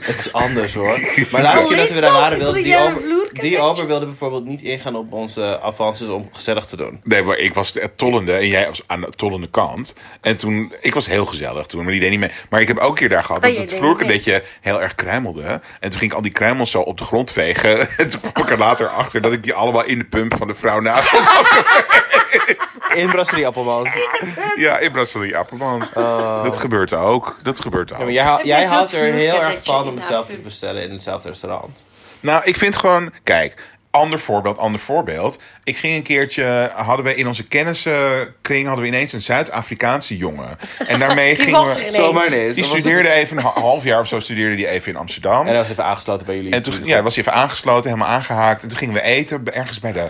het is anders hoor. Maar de Oh, laatste keer dat we daar Hoe waren, heet wilde dat? die Wil jij een ober, vloerkadetje? die ober wilde bijvoorbeeld niet ingaan op onze eh, avances om gezellig te doen. Nee, maar ik was het tollende en jij was aan de tollende kant. En toen, ik was heel gezellig toen, maar die deed niet mee. Maar ik heb ook een keer daar gehad Oh, dat jij het deed vloerkadetje heel erg kruimelde. En toen ging ik al die kruimels zo op de grond vegen. En toen kwam ik er later achter dat ik die allemaal in de pump van de vrouw naast had. Ah. In Brasserie Appelmans. Ja, in Brasserie Appelmans. Dat gebeurt ook. Dat gebeurt ook. Oh. Ja, maar jij, hou- Heb jij je zo'n houdt er heel erg vloerkadetje van in om de hetzelfde te auto? bestellen in hetzelfde restaurant. Nou, ik vind gewoon, kijk, ander voorbeeld, ander voorbeeld. Ik ging een keertje, hadden we in onze kennissenkring hadden we ineens een Zuid-Afrikaanse jongen. En daarmee Die gingen was er we. ineens. Zomaar ineens. Die Dan was studeerde even een ha- half jaar of zo studeerde die even in Amsterdam. En hij was even aangesloten bij jullie. En toen ja, was hij even aangesloten, helemaal aangehaakt. En toen gingen we eten bij- ergens bij de,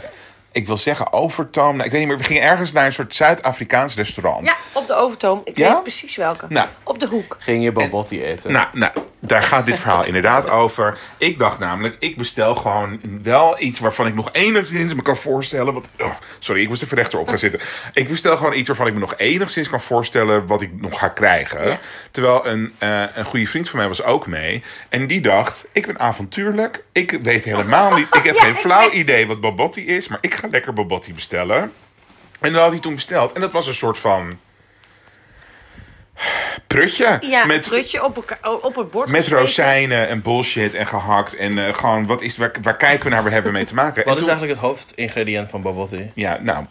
ik wil zeggen, Overtoom. Nou, ik weet niet meer, we gingen ergens naar een soort Zuid-Afrikaans restaurant. Ja, op de overtoom. Ik Ja? weet precies welke. Nou. Op de hoek. Ging je Bambotti eten? Nou, nou, daar gaat dit verhaal inderdaad over. Ik dacht namelijk, ik bestel gewoon wel iets waarvan ik nog enigszins me kan voorstellen. Wat, oh, sorry, ik moest even rechterop gaan zitten. Ik bestel gewoon iets waarvan ik me nog enigszins kan voorstellen wat ik nog ga krijgen. Ja. Terwijl een, eh, een goede vriend van mij was ook mee. En die dacht, ik ben avontuurlijk. Ik weet helemaal niet, ik heb Ja, geen ik flauw weet het. idee wat Babotti is. Maar ik ga lekker Babotti bestellen. En dat had hij toen besteld. En dat was een soort van... Prutje. Ja, met prutje op, elkaar- op het bord. met gesmeten. rozijnen en bullshit en gehakt. En eh, gewoon, wat is, waar, waar kijken we naar? Waar hebben we mee te maken? Wat En is toen- eigenlijk het hoofdingrediënt van Bambotti? Ja, nou,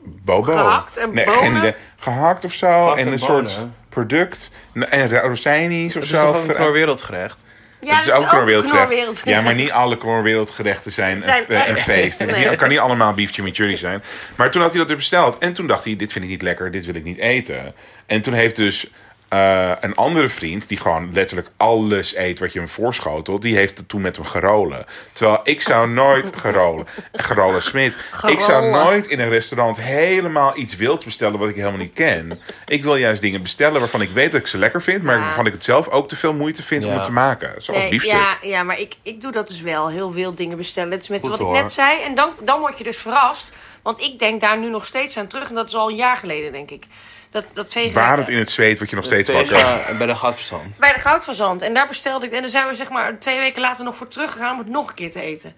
bobo. Gehakt en nee, bonen? geen idee. Gehakt of zo. en en een bonen. soort product. En ro- rozijnies of Het is zo. toch ook een Ver- knorwereldgerecht? Ja, het is ook een knorwereldgerecht. Ja, maar niet alle knorwereldgerechten zijn, een- Zijn eh, een, echt. feest. Het is niet- Nee. het kan niet allemaal biefje chimichurri zijn. Maar toen had hij dat weer besteld. En toen dacht hij, dit vind ik niet lekker, dit wil ik niet eten. En toen heeft dus eh, een andere vriend, die gewoon letterlijk alles eet wat je hem voorschotelt, die heeft het toen met hem gerolen. Terwijl ik zou nooit gerolen. Gerolen Smit. Ik zou Gerolen. nooit in een restaurant helemaal iets wild bestellen wat ik helemaal niet ken. Ik wil juist dingen bestellen waarvan ik weet dat ik ze lekker vind, maar Ja. waarvan ik het zelf ook te veel moeite vind om Ja. het te maken. Zoals Nee, biefstuk. ja, ja, maar ik, ik doe dat dus wel. Heel wild dingen bestellen. Het is met Goed wat hoor. ik net zei. En dan, dan word je dus verrast. Want ik denk daar nu nog steeds aan terug. En dat is al een jaar geleden, denk ik. Dat, dat twee Waar het in het zweet wat je nog steeds Tegen- wakker. en bij de gasverstand. Bij de Goudverzand. En daar bestelde ik. En daar zijn we zeg maar twee weken later nog voor teruggegaan om het nog een keer te eten.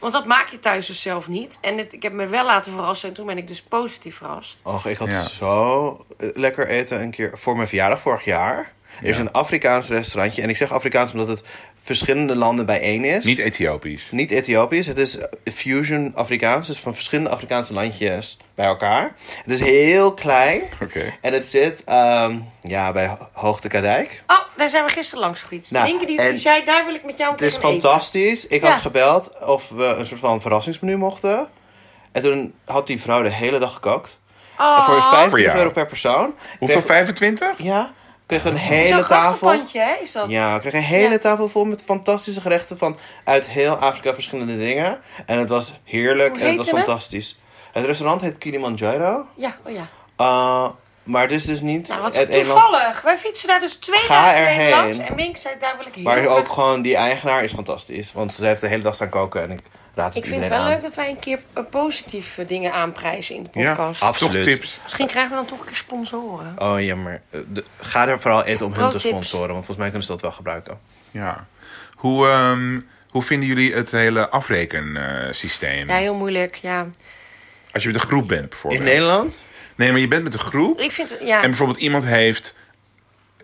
Want dat maak je thuis dus zelf niet. En het, ik heb me wel laten verrassen. En toen ben ik dus positief verrast. Och, ik had Ja. zo eh, lekker eten een keer voor mijn verjaardag vorig jaar. Er is een Afrikaans restaurantje. En ik zeg Afrikaans omdat het verschillende landen bijeen is. Niet Ethiopisch. Niet Ethiopisch. Het is fusion Afrikaans. Dus van verschillende Afrikaanse landjes bij elkaar. Het is heel klein. Oké. En het zit ehm, ja, bij Ho- Hoogte Kadijk. Oh, daar zijn we gisteren langs gefietst. Nou, Dinkie die, en- die zei, daar wil ik met jou Het is meteen aan eten. fantastisch. Ik Ja. had gebeld of we een soort van verrassingsmenu mochten. En toen had die vrouw de hele dag gekookt. Oh, Voor Voor 50 jou. euro per persoon. Hoeveel? Kreeg- 25? Ja, kreeg een Zo'n hele tafel. grachtenpandje, hè, is dat? Ja, ik kreeg een hele Ja. tafel vol met fantastische gerechten van uit heel Afrika verschillende dingen. En het was heerlijk Hoe en het was heette het? fantastisch. Het restaurant heet Kilimanjaro. Ja, oh ja. Eh, maar het is dus niet Nou, wat het een land. toevallig. Wij fietsen daar dus twee Ga dagen geleden erheen. langs. En Mink zei, daar wil ik heel Maar graag. ook gewoon die eigenaar is fantastisch. Want ze heeft de hele dag staan koken en ik raad het Ik vind iedereen het wel aan. leuk dat wij een keer eh, positieve dingen aanprijzen in de podcast. absoluut. Toch tips. Misschien krijgen we dan toch een keer sponsoren. Oh jammer. Eh, de- ga er vooral eten om hun te Pro-tips. sponsoren. Want volgens mij kunnen ze dat wel gebruiken. Ja. Hoe, ehm, hoe vinden jullie het hele afrekensysteem? Ja, heel moeilijk, ja. Als je met een groep bent In bijvoorbeeld. Nederland? Nee, maar je bent met een groep. Ik vind, het- ja. En bijvoorbeeld iemand heeft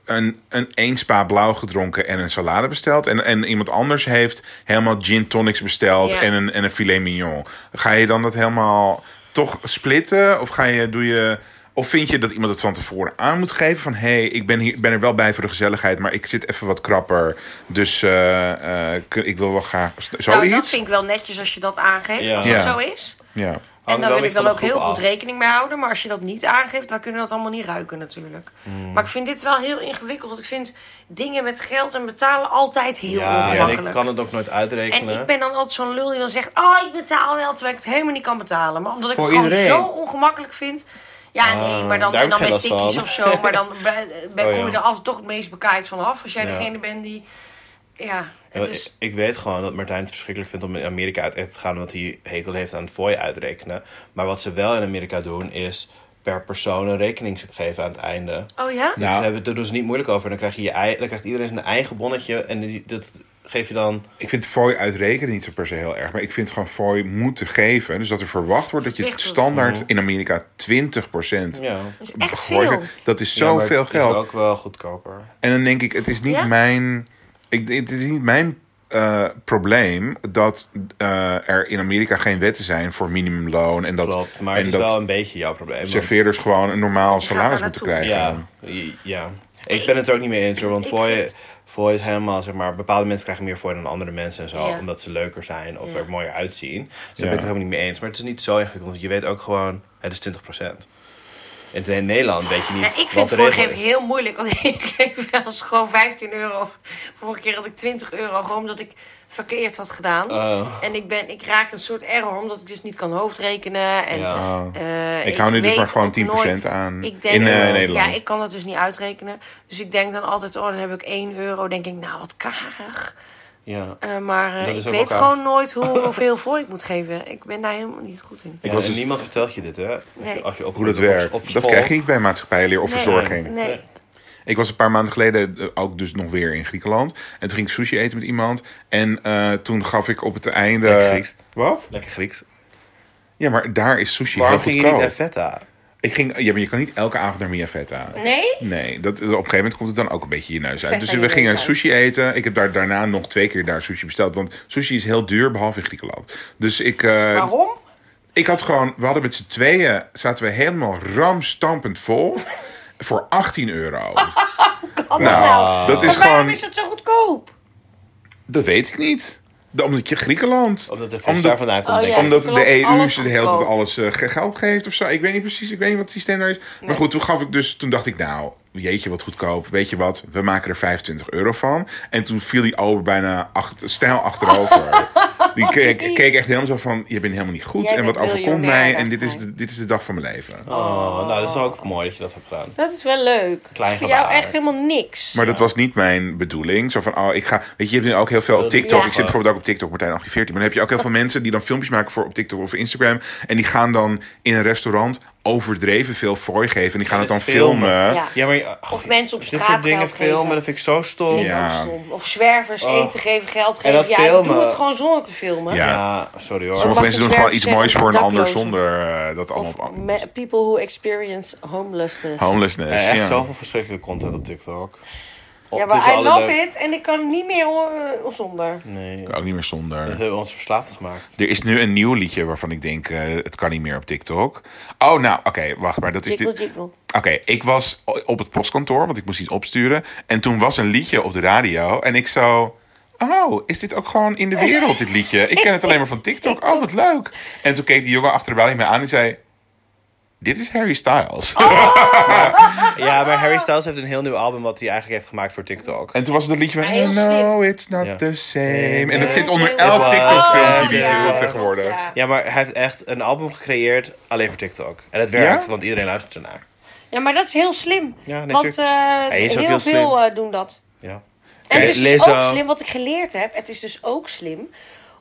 een, een één spa blauw gedronken en een salade besteld. En, en iemand anders heeft helemaal gin tonics besteld Ja. en, een, en een filet mignon. Ga je dan dat helemaal toch splitten? Of, ga je, doe je, of vind je dat iemand het van tevoren aan moet geven? Van, hé, hey, ik ben, hier, ben er wel bij voor de gezelligheid, maar ik zit even wat krapper. Dus eh, eh, kun- ik wil wel graag... Zoiets? nou, dat vind ik wel netjes als je dat aangeeft, Ja. als dat Ja. zo is. Ja. Hangt en daar wel wil ik weer dan ook van de heel groep goed af. rekening mee houden. Maar als je dat niet aangeeft, dan kunnen we dat allemaal niet ruiken natuurlijk. Hmm. Maar ik vind dit wel heel ingewikkeld. want Ik vind dingen met geld en betalen altijd heel Ja, en ongemakkelijk. ik kan het ook nooit En uitrekenen. ik ben dan altijd zo'n lul die dan zegt... oh, ik betaal wel, terwijl ik het helemaal niet kan betalen. Maar omdat ik Voor het gewoon iedereen? Ah, zo ongemakkelijk vind... Ja, nee, maar dan, daar en heb dan ik met geen last tikkies van. of zo. Maar dan be- be- Oh, kom je ja. er altijd toch het meest bekaaid van af. Als jij Ja. Eh, degene bent die... Ja, Ja, het maar is... Ik ik weet gewoon dat Martijn het verschrikkelijk vindt om in Amerika uit eten te gaan, omdat hij hekel heeft aan het fooi uitrekenen. Maar wat ze wel in Amerika doen, is per persoon een rekening geven aan het einde. Oh ja? Nou. Daar hebben- daar doen ze niet moeilijk over. Dan, krijg je je, ei- dan krijgt iedereen zijn eigen bonnetje en die, dat geef je dan. Ik vind fooi uitrekenen niet zo per se heel erg. Maar ik vind gewoon fooi moeten geven. Dus dat er verwacht wordt dat je Verplicht wordt. standaard in Amerika 20% Ja. Dat is echt gooit. veel. Dat is Ja, maar zoveel het geld. is ook wel goedkoper. En dan denk ik, het is niet Ja? mijn... Ik, het is niet mijn eh, probleem dat eh, er in Amerika geen wetten zijn voor minimumloon. En dat, Klopt, maar en het is dat wel een beetje jouw probleem. want- serveerders gewoon een normaal gaat salaris daar moeten naartoe. krijgen. ja, i- ja. Ik ben het er ook niet mee eens hoor, want Ik fooi vind- fooi is helemaal, zeg maar, bepaalde mensen krijgen meer fooi dan andere mensen en zo, Ja. omdat ze leuker zijn of Ja. er mooier uitzien. Dus daar Ja. ben ik het helemaal niet mee eens, maar het is niet zo ingewikkeld, want je weet ook gewoon, het is 20%. In het- in Nederland weet je niet Ja, ik wat vind de regel voorgeven is. heel moeilijk. Want ik geef wel eens gewoon 15 euro. Vorige keer had ik 20 euro. Gewoon omdat ik verkeerd had gedaan. Eh, En ik, ben, ik raak een soort error. Omdat ik dus niet kan hoofdrekenen. En, ja. Oh. eh, ik hou nu dus weet maar gewoon ook 10% nooit- aan Ik denk, in eh, Ja, Nederland. Ja, ik kan dat dus niet uitrekenen. Dus ik denk dan altijd, oh, dan heb ik 1 euro. denk ik, nou, wat karig. ja. Eh, maar eh, Dat is ik ook weet wel karig. gewoon nooit hoe, hoeveel voor ik moet geven. Ik ben daar helemaal niet goed in. Ja, was en dus- niemand vertelt je dit, hè? Als je- Nee. Als je Hoe dat opgroeit op- werkt. op dat school. krijg je niet bij maatschappijleer of Nee, verzorging. Nee. Ik was een paar maanden geleden eh, ook dus nog weer in Griekenland. En toen ging ik sushi eten met iemand. En eh, toen gaf ik op het einde... Lekker Grieks. Wat? Lekker Grieks. Ja, maar daar is sushi Waarom heel ging je niet goedkoop. naar Vetta? ik ging, ja, maar je kan niet elke avond naar Mia Vetta. Nee? Nee, dat, op een gegeven moment komt het dan ook een beetje je neus uit. Vet Dus aan we je gingen neus uit. sushi eten. Ik heb daar, daarna nog twee keer daar sushi besteld. Want sushi is heel duur, behalve in Griekenland. Dus ik... eh, Waarom? ik had gewoon, we hadden met z'n tweeën, zaten we helemaal ramstampend vol voor 18 euro. Kan dat Nou, dat is Oh, Maar waarom gewoon, is dat zo goedkoop? dat weet ik niet. De- Omdat je Griekenland. Omdat de vis daar omdat, vandaan komt, Oh, denk ja. ik. omdat Griekenland de EU alles ze de hele tijd goedkoop. alles eh, ge- geld geeft of zo. Ik weet niet precies, ik weet niet wat het systeem daar is. Maar goed, toen gaf ik dus, toen dacht ik nou, jeetje wat goedkoop. Weet je wat, we maken er 25 euro van. En toen viel die over bijna achter, stijl achterover. Die keek, keek echt helemaal zo van, je bent helemaal niet goed. Jij en wat bent overkomt mij. miljonair, En dit is, dacht de, dit is de dag van mijn leven. Oh, nou, dat is ook mooi dat je dat hebt gedaan. Dat is wel leuk. Klein Voor jou gebaar. echt helemaal niks. Maar dat was niet mijn bedoeling. Zo van, oh, ik ga... Weet je, je hebt nu ook heel veel op TikTok. Ja. Ik zit bijvoorbeeld ook op TikTok, Martijn 1814. Maar dan heb je ook heel veel mensen die dan filmpjes maken voor op TikTok of Instagram. En die gaan dan in een restaurant overdreven veel fooi geven. En die gaan En het dan het filmen. filmen. Ja. Ja, eh, maar... ach, Of mensen op Dit straat soort dingen geld geven. filmen, dat vind ik zo stom. Vind ik Ja, Ja. ook stom. Of zwervers Oh. eten geven, geld geven. dat ja, filmen. doe het gewoon zonder te filmen. Ja. sorry hoor. Sommige Mag mensen een doen gewoon zwerver iets moois zeggen, voor een ander daklozen. zonder eh, dat allemaal... Of Op, me- people who experience homelessness. homelessness, Eh, ja. echt zoveel verschrikkelijke content op TikTok. op ja, tussen maar I alle love leuke- it en ik kan niet meer eh, zonder. Nee, Ook niet meer we zonder. hebben ons verslaafd gemaakt. Er is nu een nieuw liedje waarvan ik denk, eh, het kan niet meer op TikTok. Oh, nou, oké, wacht maar. Dat is Jiggle dit. jiggle. Oké, ik was o- op het postkantoor, want ik moest iets opsturen. En toen was een liedje op de radio. En ik zo. Oh, is dit ook gewoon in de wereld, dit liedje? Ik ken het alleen maar van TikTok. Oh, wat leuk. En toen keek die jongen achter de balie me aan en zei... Dit is Harry Styles. Ja, maar Harry Styles heeft een heel nieuw album wat hij eigenlijk heeft gemaakt voor TikTok. En toen was het het liedje van... Heel No, it's not Ja. the same. En dat zit onder same. elk Oh, TikTok-filmpje die ja. je doet tegenwoordig. Ja. Ja, maar hij heeft echt een album gecreëerd alleen voor TikTok. En het werkt, Ja? want iedereen luistert ernaar. Ja, maar dat is heel slim. Ja, nee, want tuurlijk. eh, is ook heel, heel veel slim. eh, doen dat. Ja. En het Kijk, is dus Lizzo. ook slim, wat ik geleerd heb. Het is dus ook slim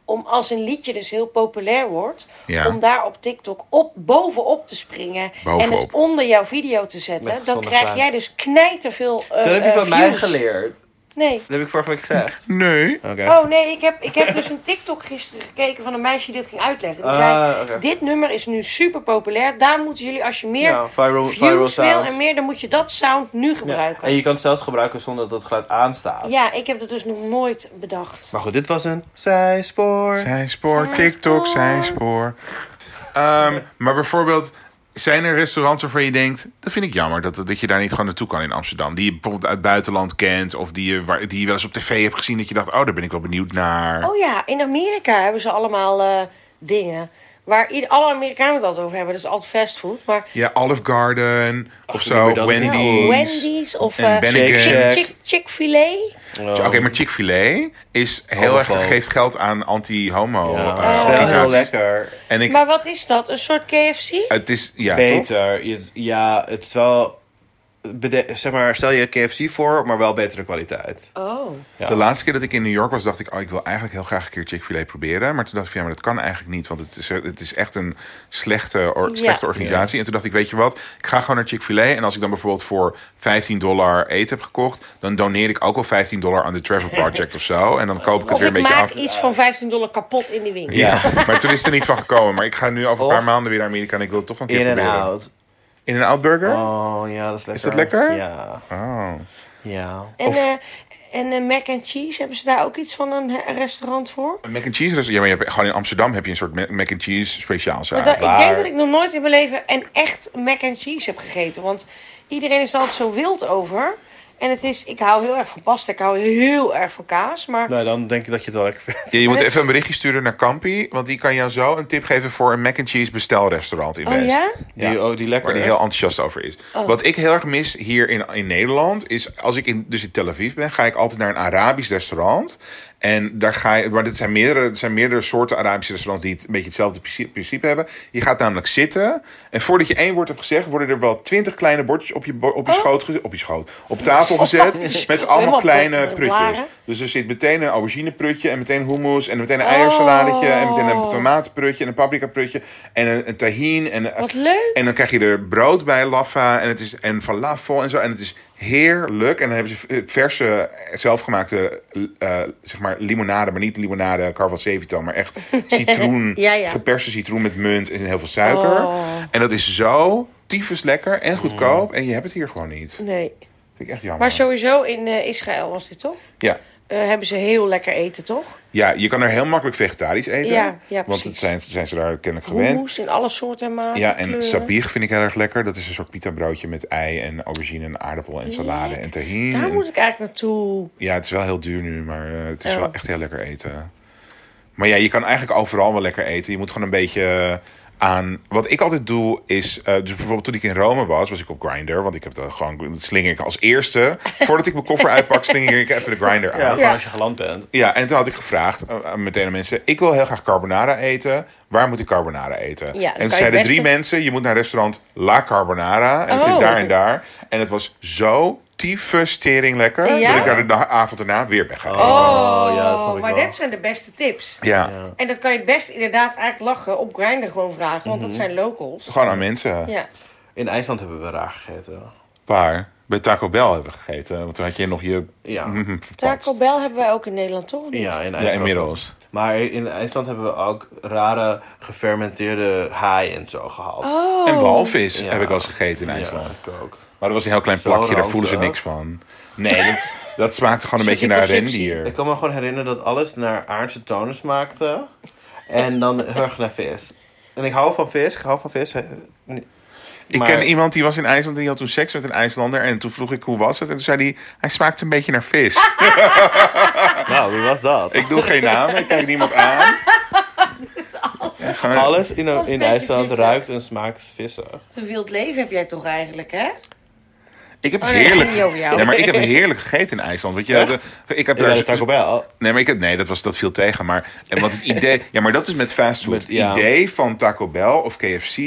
om als een liedje dus heel populair wordt, Ja. om daar op TikTok op, bovenop te springen en het Bovenop. onder jouw video te zetten. Met Dan gezonde krijg plaat. jij dus knijterveel veel. Dat heb je van mij geleerd. Nee. Dat heb ik vorige week gezegd. Nee. Oké. Oh nee, ik heb, ik heb dus een TikTok gisteren gekeken van een meisje die dit ging uitleggen. Die zei, Ah, oké. dit nummer is nu super populair. Daar moeten jullie, als je meer Ja, Nou, viral, viral views wil sounds. en meer, dan moet je dat sound nu Ja, gebruiken. En je kan het zelfs gebruiken zonder dat het geluid aanstaat. Ja, ik heb dat dus nog nooit bedacht. Maar goed, dit was een zijspoor. Zijn spoor, TikTok, zijn spoor. Ehm, maar bijvoorbeeld, zijn er restaurants waarvan je denkt... dat vind ik jammer, dat, dat je daar niet gewoon naartoe kan in Amsterdam. Die je bijvoorbeeld uit het buitenland kent... of die je, waar, die je wel eens op tv hebt gezien... dat je dacht, oh, daar ben ik wel benieuwd naar. Oh ja, in Amerika hebben ze allemaal eh, dingen waar ieder, alle Amerikanen het altijd over hebben. Dat is altijd fastfood. Maar Ja, Olive Garden of noem zo, je dat? Wendy's. ja, Oh, Wendy's of En eh, Ben Shake Shack. Shack. Chick- Chick-fil-A. Oh. Oké, maar Chick-fil-A is heel erg, Homofoob. geeft geld aan anti-homo. Ja, eh, het is wel heel organisaties. lekker. en ik, Maar wat is dat? Een soort KFC? het is, ja, toch? Beter. Je- ja, het is wel... bede- Zeg maar, stel je KFC voor, maar wel betere kwaliteit. Oh. Ja. De laatste keer dat ik in New York was, dacht ik, oh, ik wil eigenlijk heel graag een keer Chick-fil-A proberen. Maar toen dacht ik, van, ja, maar dat kan eigenlijk niet, want het is, het is echt een slechte, or- Ja. slechte organisatie. En toen dacht ik, weet je wat, ik ga gewoon naar Chick-fil-A. En als ik dan bijvoorbeeld voor 15 dollar eten heb gekocht, dan doneer ik ook wel 15 dollar aan de Travel Project of zo. En dan koop ik het Of weer een ik beetje maak af. iets van 15 dollar kapot in die winkel. Ja. maar toen is het er niet van gekomen. Maar ik ga nu over een Of- paar maanden weer naar Amerika en ik wil het toch een keer In en proberen. out. In en out burger? Oh, ja, dat is lekker. Is dat lekker? Ja. Oh. Ja. En, eh en eh, mac and cheese, hebben ze daar ook iets van een he- restaurant voor? Een Mac and cheese restaurant. Ja, maar je hebt, gewoon in Amsterdam heb je een soort ma- mac and cheese speciaalzaak. Want dat- ik waar. denk dat ik nog nooit in mijn leven een echt mac and cheese heb gegeten. Want iedereen is er altijd zo wild over. En het is, ik hou heel erg van pasta, ik hou heel erg van kaas. Maar Nou, dan denk ik dat je het wel lekker vindt. Ja, je moet even een berichtje sturen naar Kampi, want die kan jou zo een tip geven voor een mac and cheese bestelrestaurant in Oh, West. ja? Die, oh, die lekker Waar die is. heel enthousiast over is. Oh. Wat ik heel erg mis hier in, in Nederland is, als ik in, dus in Tel Aviv ben, ga ik altijd naar een Arabisch restaurant. En daar ga je, maar dit zijn meerdere, er zijn meerdere soorten Arabische restaurants die het, een beetje hetzelfde principe- principe hebben. Je gaat namelijk zitten en voordat je één woord hebt gezegd, worden er wel twintig kleine bordjes op je, bo- op je, schoot, ge- op je schoot, op tafel gezet met allemaal Oh. Helemaal eh, kleine blaren. prutjes. Dus er zit meteen een aubergineprutje en meteen hummus en meteen een eiersaladetje en meteen een Oh. tomatenprutje en een paprikaprutje en een, een tahin en Wat leuk. en dan krijg je er brood bij, laffa en, het is, en falafel en zo. En het is heerlijk. En dan hebben ze eh, verse, eh, zelfgemaakte, eh, zeg maar, limonade. Maar niet limonade carvalsevitan, maar echt citroen. Ja, ja. Geperste citroen met munt en heel veel suiker. Oh. En dat is zo tyfus lekker en goedkoop. En je hebt het hier gewoon niet. nee. Vind ik echt jammer. Maar sowieso in eh, Israël was dit toch? Ja. Eh, hebben ze heel lekker eten, toch? ja, je kan er heel makkelijk vegetarisch eten. Ja, ja, want precies. het zijn, zijn ze daar kennelijk gewend. Hummus in alle soorten en maten. Ja, en kleuren. sabir vind ik heel erg lekker. Dat is een soort pita broodje met ei en aubergine en aardappel en salade en tahin. Daar En- moet ik eigenlijk naartoe. Ja, het is wel heel duur nu, maar eh, het is Oh. wel echt heel lekker eten. Maar ja, je kan eigenlijk overal wel lekker eten. Je moet gewoon een beetje eh, aan... Wat ik altijd doe is... eh, dus bijvoorbeeld toen ik in Rome was, was ik op Grindr. Want ik heb dat gewoon... dat slinger ik als eerste. Voordat ik mijn koffer uitpak, slinger ik even de Grindr aan. Ja, Ja. gewoon als je geland bent. en toen had ik gevraagd eh, aan meteen aan mensen... Ik wil heel graag carbonara eten. Waar moet ik carbonara eten? dan kan en je toen zeiden best drie een- mensen... Je moet naar restaurant La Carbonara. En het Oh. zit daar en daar. En het was zo tyfus tering lekker... Ja? dat ik daar de da- avond daarna weer ben gaan eten. Oh, ja, dat snap ik maar wel. dit zijn de beste tips. Ja. Ja. En dat kan je het best inderdaad eigenlijk lachen op Grindr gewoon vragen. Want Mhm. dat zijn locals. Gewoon aan mensen. Ja. In IJsland hebben we raar gegeten. Waar? Bij Taco Bell hebben we gegeten. Want toen had je nog je... Ja. Mhm. Taco Bell hebben wij ook in Nederland, toch? Niet? Ja, in IJsland. Ja, inmiddels. Maar in IJsland hebben we ook rare gefermenteerde haai en zo gehad. Oh. En walvis Ja. heb ik wel eens gegeten in Ja, oh. IJsland. ik ook. Maar dat was een heel klein Zo plakje, daar voelen ze ranzig. niks van. Nee, dat, dat smaakte gewoon een beetje naar Stukje rendier. Ik kan me gewoon herinneren dat alles naar aardse tonen smaakte. En dan heel erg naar vis. En ik hou van vis, ik hou van vis. Ik Maar- ken iemand die was in IJsland en die had toen seks met een IJslander. En toen vroeg ik hoe was het. En toen zei hij, hij smaakt een beetje naar vis. Nou, wie was dat? ik doe geen naam, ik kijk niemand aan. Ja, gewoon- Alles in, was een in beetje IJsland vissig. ruikt en smaakt vissig. Te wild leven heb jij toch eigenlijk, hè? Ik heb Oh, nee, dat heerlijk, ging niet over jou. nee, maar ik heb heerlijk gegeten in IJsland. Weet je, Echt? de- ik heb Ja, daar de Taco Bell. Nee, maar ik heb, nee dat, was, dat viel tegen. Maar, en want het idee, ja, maar dat is met fastfood. Met- Het ja. idee van Taco Bell of KFC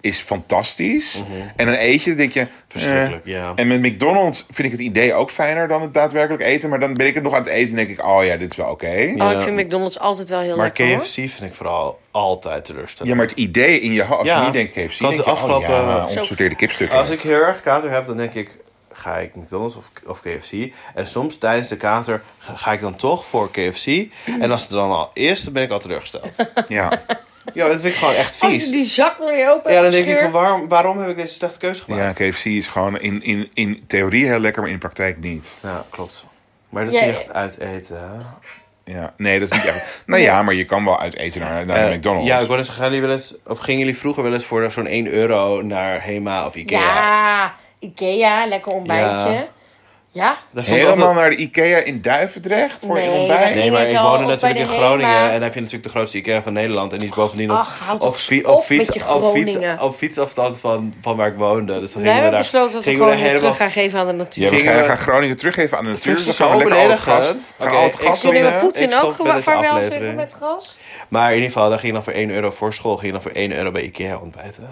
is fantastisch. En dan eet je, dan denk je... Mhm. Verschrikkelijk, eh, ja. En met McDonald's vind ik het idee ook fijner dan het daadwerkelijk eten. Maar dan ben ik het nog aan het eten en denk ik... Oh ja, dit is wel oké. Oh, Ja. ik vind McDonald's altijd wel heel Maar lekker, hoor. KFC vind ik vooral altijd teleurstellend. Ja, maar het idee in je hoofd... Als Ja. je nu denkt KFC, Want denk je... de Afgelopen, afgelopen- oh ja, Zo. ongesorteerde kipstukken. Als ik heel erg kater heb, dan denk ik... Ga ik McDonald's of, of KFC? En soms tijdens de kater ga, ga ik dan toch voor KFC. En als het dan al is, dan ben ik al teleurgesteld. Ja. Ja, dat vind ik gewoon echt Als je vies. Oh, die zak maar weer open Ja, dan hebt denk ik van gescheurd. waarom, waarom heb ik deze slechte keuze gemaakt? ja, KFC is gewoon in, in, in theorie heel lekker, maar in praktijk niet. Ja, Nou, klopt. Maar dat Ja, is niet ja. echt uit eten. hè? Ja. Nee, dat is niet echt... nou ja, maar je kan wel uit eten naar, naar Eh, McDonald's. Ja, ik wou eens, gaan jullie wel eens, of gingen jullie vroeger wel eens voor zo'n 1 euro naar Hema of Ikea? Ja, Ikea, lekker ontbijtje. Ja? Ja. Daar stond Helemaal altijd- naar de Ikea in Duivendrecht voor je Nee, ontbijt? dat- Nee, maar Is ik het al woonde of natuurlijk bij in de Groningen Hema? en daar heb je natuurlijk de grootste Ikea van Nederland. En die is bovendien Ach, houd op, op, toch fi- op op, met fiets, je op, Groningen. fiets, op fietsafstand van, van waar ik woonde. Dus dan gingen Wij we hebben daar, besloten dat we gingen we gewoon daar helemaal... terug gaan geven aan de natuur. Ja, we Gingen gaan, we- gaan Groningen teruggeven aan de natuur. Het We is gaan zo lekker al het gas, beledigend. we gaan al het Oké, gas ik Kunnen we winnen. eh, Ik Poetin stop ook met gewa- deze vaarwel zeggen aflevering. met gras? Maar in ieder geval, daar ging je dan voor 1 euro voor school. Ging je dan voor 1 euro bij Ikea ontbijten.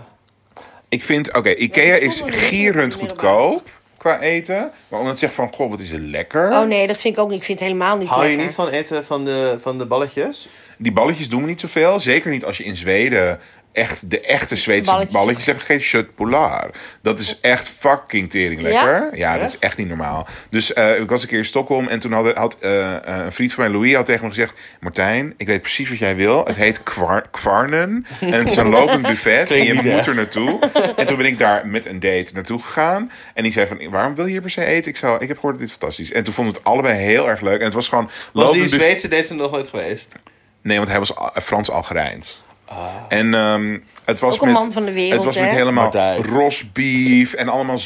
Ik vind, oké, Ikea Ja, ik is voel me gierend niet meer goedkoop qua eten. Maar omdat ze zegt van, goh, wat is er lekker. Oh nee, dat vind ik ook niet. Ik vind het helemaal niet Hou je lekker. niet van eten van de, van de balletjes? Die balletjes doen me niet zoveel. Zeker niet als je in Zweden echt de echte Zweedse balletjes, Balletjes. hebt gegeten. Shut polar. Dat is echt fucking tering lekker. Ja, dat is echt niet normaal. Dus eh, ik was een keer in Stockholm en toen had, had eh, eh, een vriend van mij, Louis, had tegen me gezegd... Martijn, ik weet precies wat jij wil. Het heet Kwar- Kvarnen en het is een lopend buffet en je niet, hè? moet er naartoe. En toen ben ik daar met een date naartoe gegaan. En die zei van, waarom wil je hier per se eten? Ik, zou, ik heb gehoord dat dit fantastisch is. En toen vonden we het allebei heel erg leuk. En het was gewoon Was lopend die buffet. Zweedse deze nog nooit geweest? Nee, want hij was Al- Frans-Algerijns. Ah. En ehm, het was Ook een met, man van de wereld, Het was met hè? helemaal Martijn. rosbief en allemaal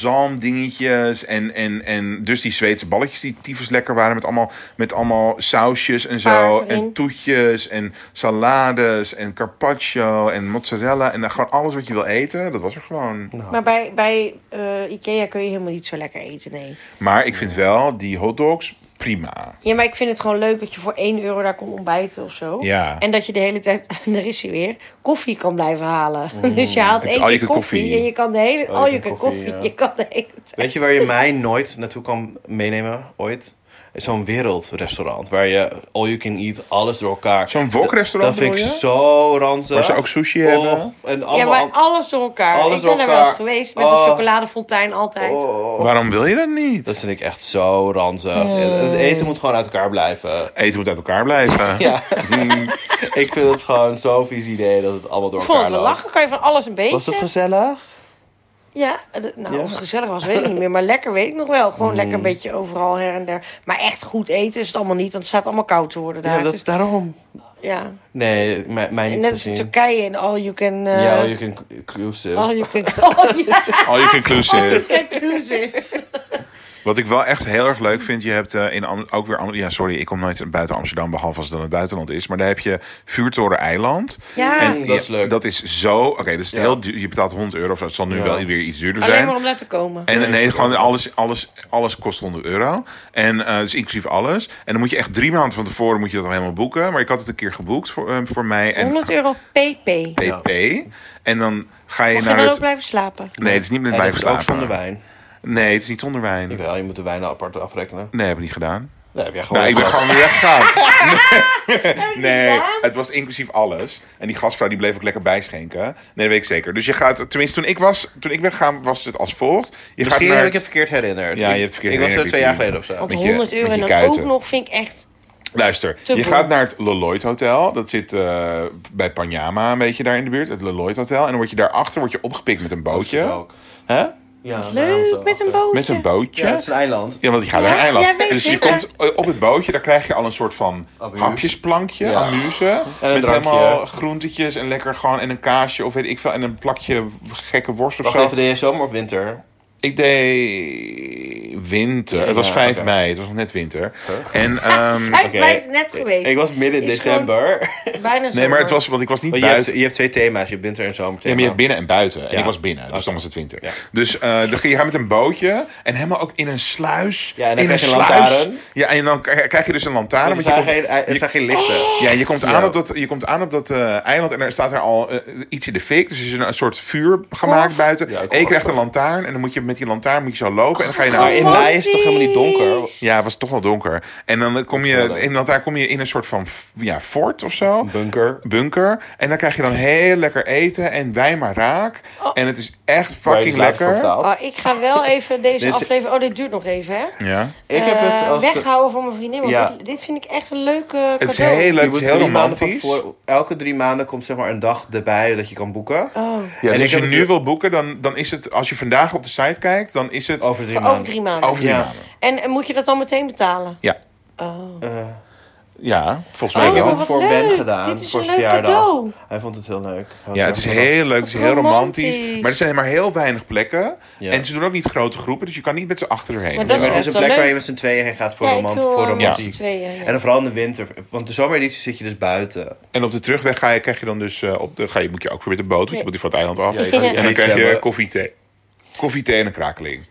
zalmdingetjes. En, en, en dus die Zweedse balletjes die tyfus lekker waren. Met allemaal, met allemaal sausjes en zo. Paars erin. En toetjes en salades en carpaccio en mozzarella. En dan gewoon alles wat je wil eten, dat was er gewoon. Nou. Maar bij, bij eh, Ikea kun je helemaal niet zo lekker eten, nee. Maar ik vind wel die hotdogs prima. Ja, maar ik vind het gewoon leuk dat je voor 1 euro daar kon ontbijten of zo. Ja. En dat je de hele tijd, daar is hij weer, koffie kan blijven halen. Dus je haalt Het is één keer al je koffie, koffie. en je kan de hele... Al Al je je koffie, koffie, koffie ja. je kan de hele tijd... Weet je waar je mij nooit naartoe kan meenemen, ooit? Zo'n wereldrestaurant, waar je all you can eat, alles door elkaar. Zo'n wokrestaurant Dat vind ik bedoel je? zo ranzig. Waar ze ook sushi Och, hebben? En Ja, allemaal... maar alles door elkaar. Alles ik door ben daar wel eens elkaar. geweest met Oh. een chocoladefontein altijd. Oh, Waarom wil je dat niet? dat vind ik echt zo ranzig. Het eten moet gewoon uit elkaar blijven. Eten moet uit elkaar blijven. Ja. ik vind het gewoon zo'n vies idee dat het allemaal door Ik vond elkaar het wel loopt. lachen, kan je van alles een beetje. Was het gezellig? Ja, d- nou, Ja. Hmm. of het gezellig was, weet ik niet meer. Maar lekker weet ik nog wel. Gewoon lekker een beetje overal her en der. Maar echt goed eten is het allemaal niet, want het staat allemaal koud te worden daar. Ja, Het dat, is- daarom. ja. Nee, mij, mij En niet net als in gezien. Turkije en all you can... eh, Ja, all you can inclusive. all you can... All you All you inclusive. can inclusive. Wat ik wel echt heel erg leuk vind, je hebt eh, in Am- ook weer Am- ja sorry, ik kom nooit buiten Amsterdam behalve als het dan het buitenland is, maar daar heb je Vuurtoren Eiland. Ja, En dat is je- leuk. Dat is zo, oké, dus Ja. heel duur, je betaalt 100 euro of zo, het zal nu Ja. wel weer iets duurder zijn. alleen maar om naar te komen. En nee, gewoon alles, alles, alles kost 100 euro. En eh, dus inclusief alles. En dan moet je echt drie maanden van tevoren moet je dat dan helemaal boeken. Maar ik had het een keer geboekt voor, eh, voor mij en 100 euro pp. PP. En dan ga je Mag je naar dan het... ook blijven slapen? Nee, het is niet met En mij dat is ook verslapen. zonder wijn. Nee, het is niet zonder wijn. Jawel, je moet de wijnen apart afrekenen. Nee, heb ik niet gedaan. Nee, heb jij gewoon... Nou, ik ben gewoon weer weggegaan. Nee, gedaan? het was inclusief alles. En die gastvrouw die bleef ook lekker bijschenken. Nee, dat weet ik zeker. Dus je gaat, tenminste toen ik was, toen ik ben gegaan, was het als volgt. Je Misschien gaat naar, heb ik het verkeerd herinnerd. Ja, je Ik- hebt het verkeerd Ik was er herinnerd, twee jaar Jeffrey. geleden of zo. Want met je- 100 euro met en je dan kuiten. ook nog vind ik echt... luister, te je beroerd. gaat naar het Leloid Hotel. Dat zit eh, bij Panjama, een beetje daar in de buurt. Het Leloid Hotel. En dan word je daarachter word je opgepikt met een bootje. Ook. Hè? Ja, daarom zo Leuk, met een achter. bootje. Met een bootje. Ja, het is een eiland. Ja, want je gaat naar een Ja, eiland. jij weet En dus je het, komt eh, op het bootje, daar krijg je al een soort van Amuse. hapjesplankje, Ja. amuse. een met drankje. helemaal groentetjes en lekker gewoon en een kaasje of weet ik veel. En een plakje gekke worst of Wacht zo. even, E deed je zomer of winter? Ik deed winter. Het was Ja, 5 oké. mei, het was nog net winter. En, ehm, Hij Oké. hij is net geweest. Ik was midden in Is gewoon- december. Bijna nee, maar zomer. het was, want ik was niet Want je, hebt, buiten. je hebt twee thema's, je hebt winter en zomer Ja, maar je hebt binnen en buiten. En Ja. ik was binnen, dus Oké. dan was het winter. Ja. Dus eh, dan ging je gaat met een bootje en helemaal ook in een sluis. Ja, en dan in krijg je een lantaarn. Ja, en dan k- krijg je dus een lantaarn. er want je zijn komt- geen, er zijn geen lichten. Ja, je komt Ja. aan op dat, je komt aan op dat eh, eiland en er staat er al eh, iets in de fik. Dus er is een, een soort vuur gemaakt buiten. Ja, en je krijgt een lantaarn en dan moet je met die lantaarn moet je zo lopen. En dan ga je naar... Maar in mei is het toch helemaal niet donker? Ja, het was toch wel donker. En dan kom wel je, leuk. in, want daar kom je in een soort van ja, fort of zo. Bunker. Bunker. En dan krijg je dan heel lekker eten en wijn maar raak. En het is echt Waar je fucking dus later voor lekker. betaalt. Oh, ik ga wel even deze Dit is- aflevering... Oh, dit duurt nog even, hè? Ja. Ik heb Eh, het als... weghouden voor mijn vriendin, want Ja. dit, dit vind ik echt een leuk eh, Het is cadeau. heel Je leuk, het moet is heel drie maanden van romantisch. tevoren- elke drie maanden komt zeg maar een dag erbij dat je kan boeken. Oh, Ja, En dus ik als je heb het- nu wil boeken, dan, dan is het... Als je vandaag op de site kijkt, dan is het over, Over drie voor maanden. over drie maanden. drie Ja. maanden. En, en moet je dat dan meteen betalen? Ja. Oh. Eh, Ja, volgens mij Oh, ik heb wel. het wat voor Ben leuk. gedaan. Dit is voor een zijn leuk verjaardag. cadeau. Hij vond het heel leuk. Hij had Ja, het is erg gelachen. heel leuk, het is heel Romantisch. romantisch. Maar er zijn maar heel weinig plekken. Ja. En ze doen ook niet grote groepen, dus je kan niet met z'n achter erheen. Maar of dat zo. Maar het is een wel plek waar leuk. je met z'n tweeën heen gaat voor, Ja, ik romant, wil, voor eh, met romantiek. z'n tweeën, ja. En dan vooral in de winter. Want de zomereditie zit je dus buiten. En op de terugweg ga je, krijg je dan dus eh, op de, ga je, moet je ook weer met de boot, want je moet die van het eiland af. Ja, je kan niet En dan krijg je zwemmen. koffie, thee. Koffie, thee en een krakeling.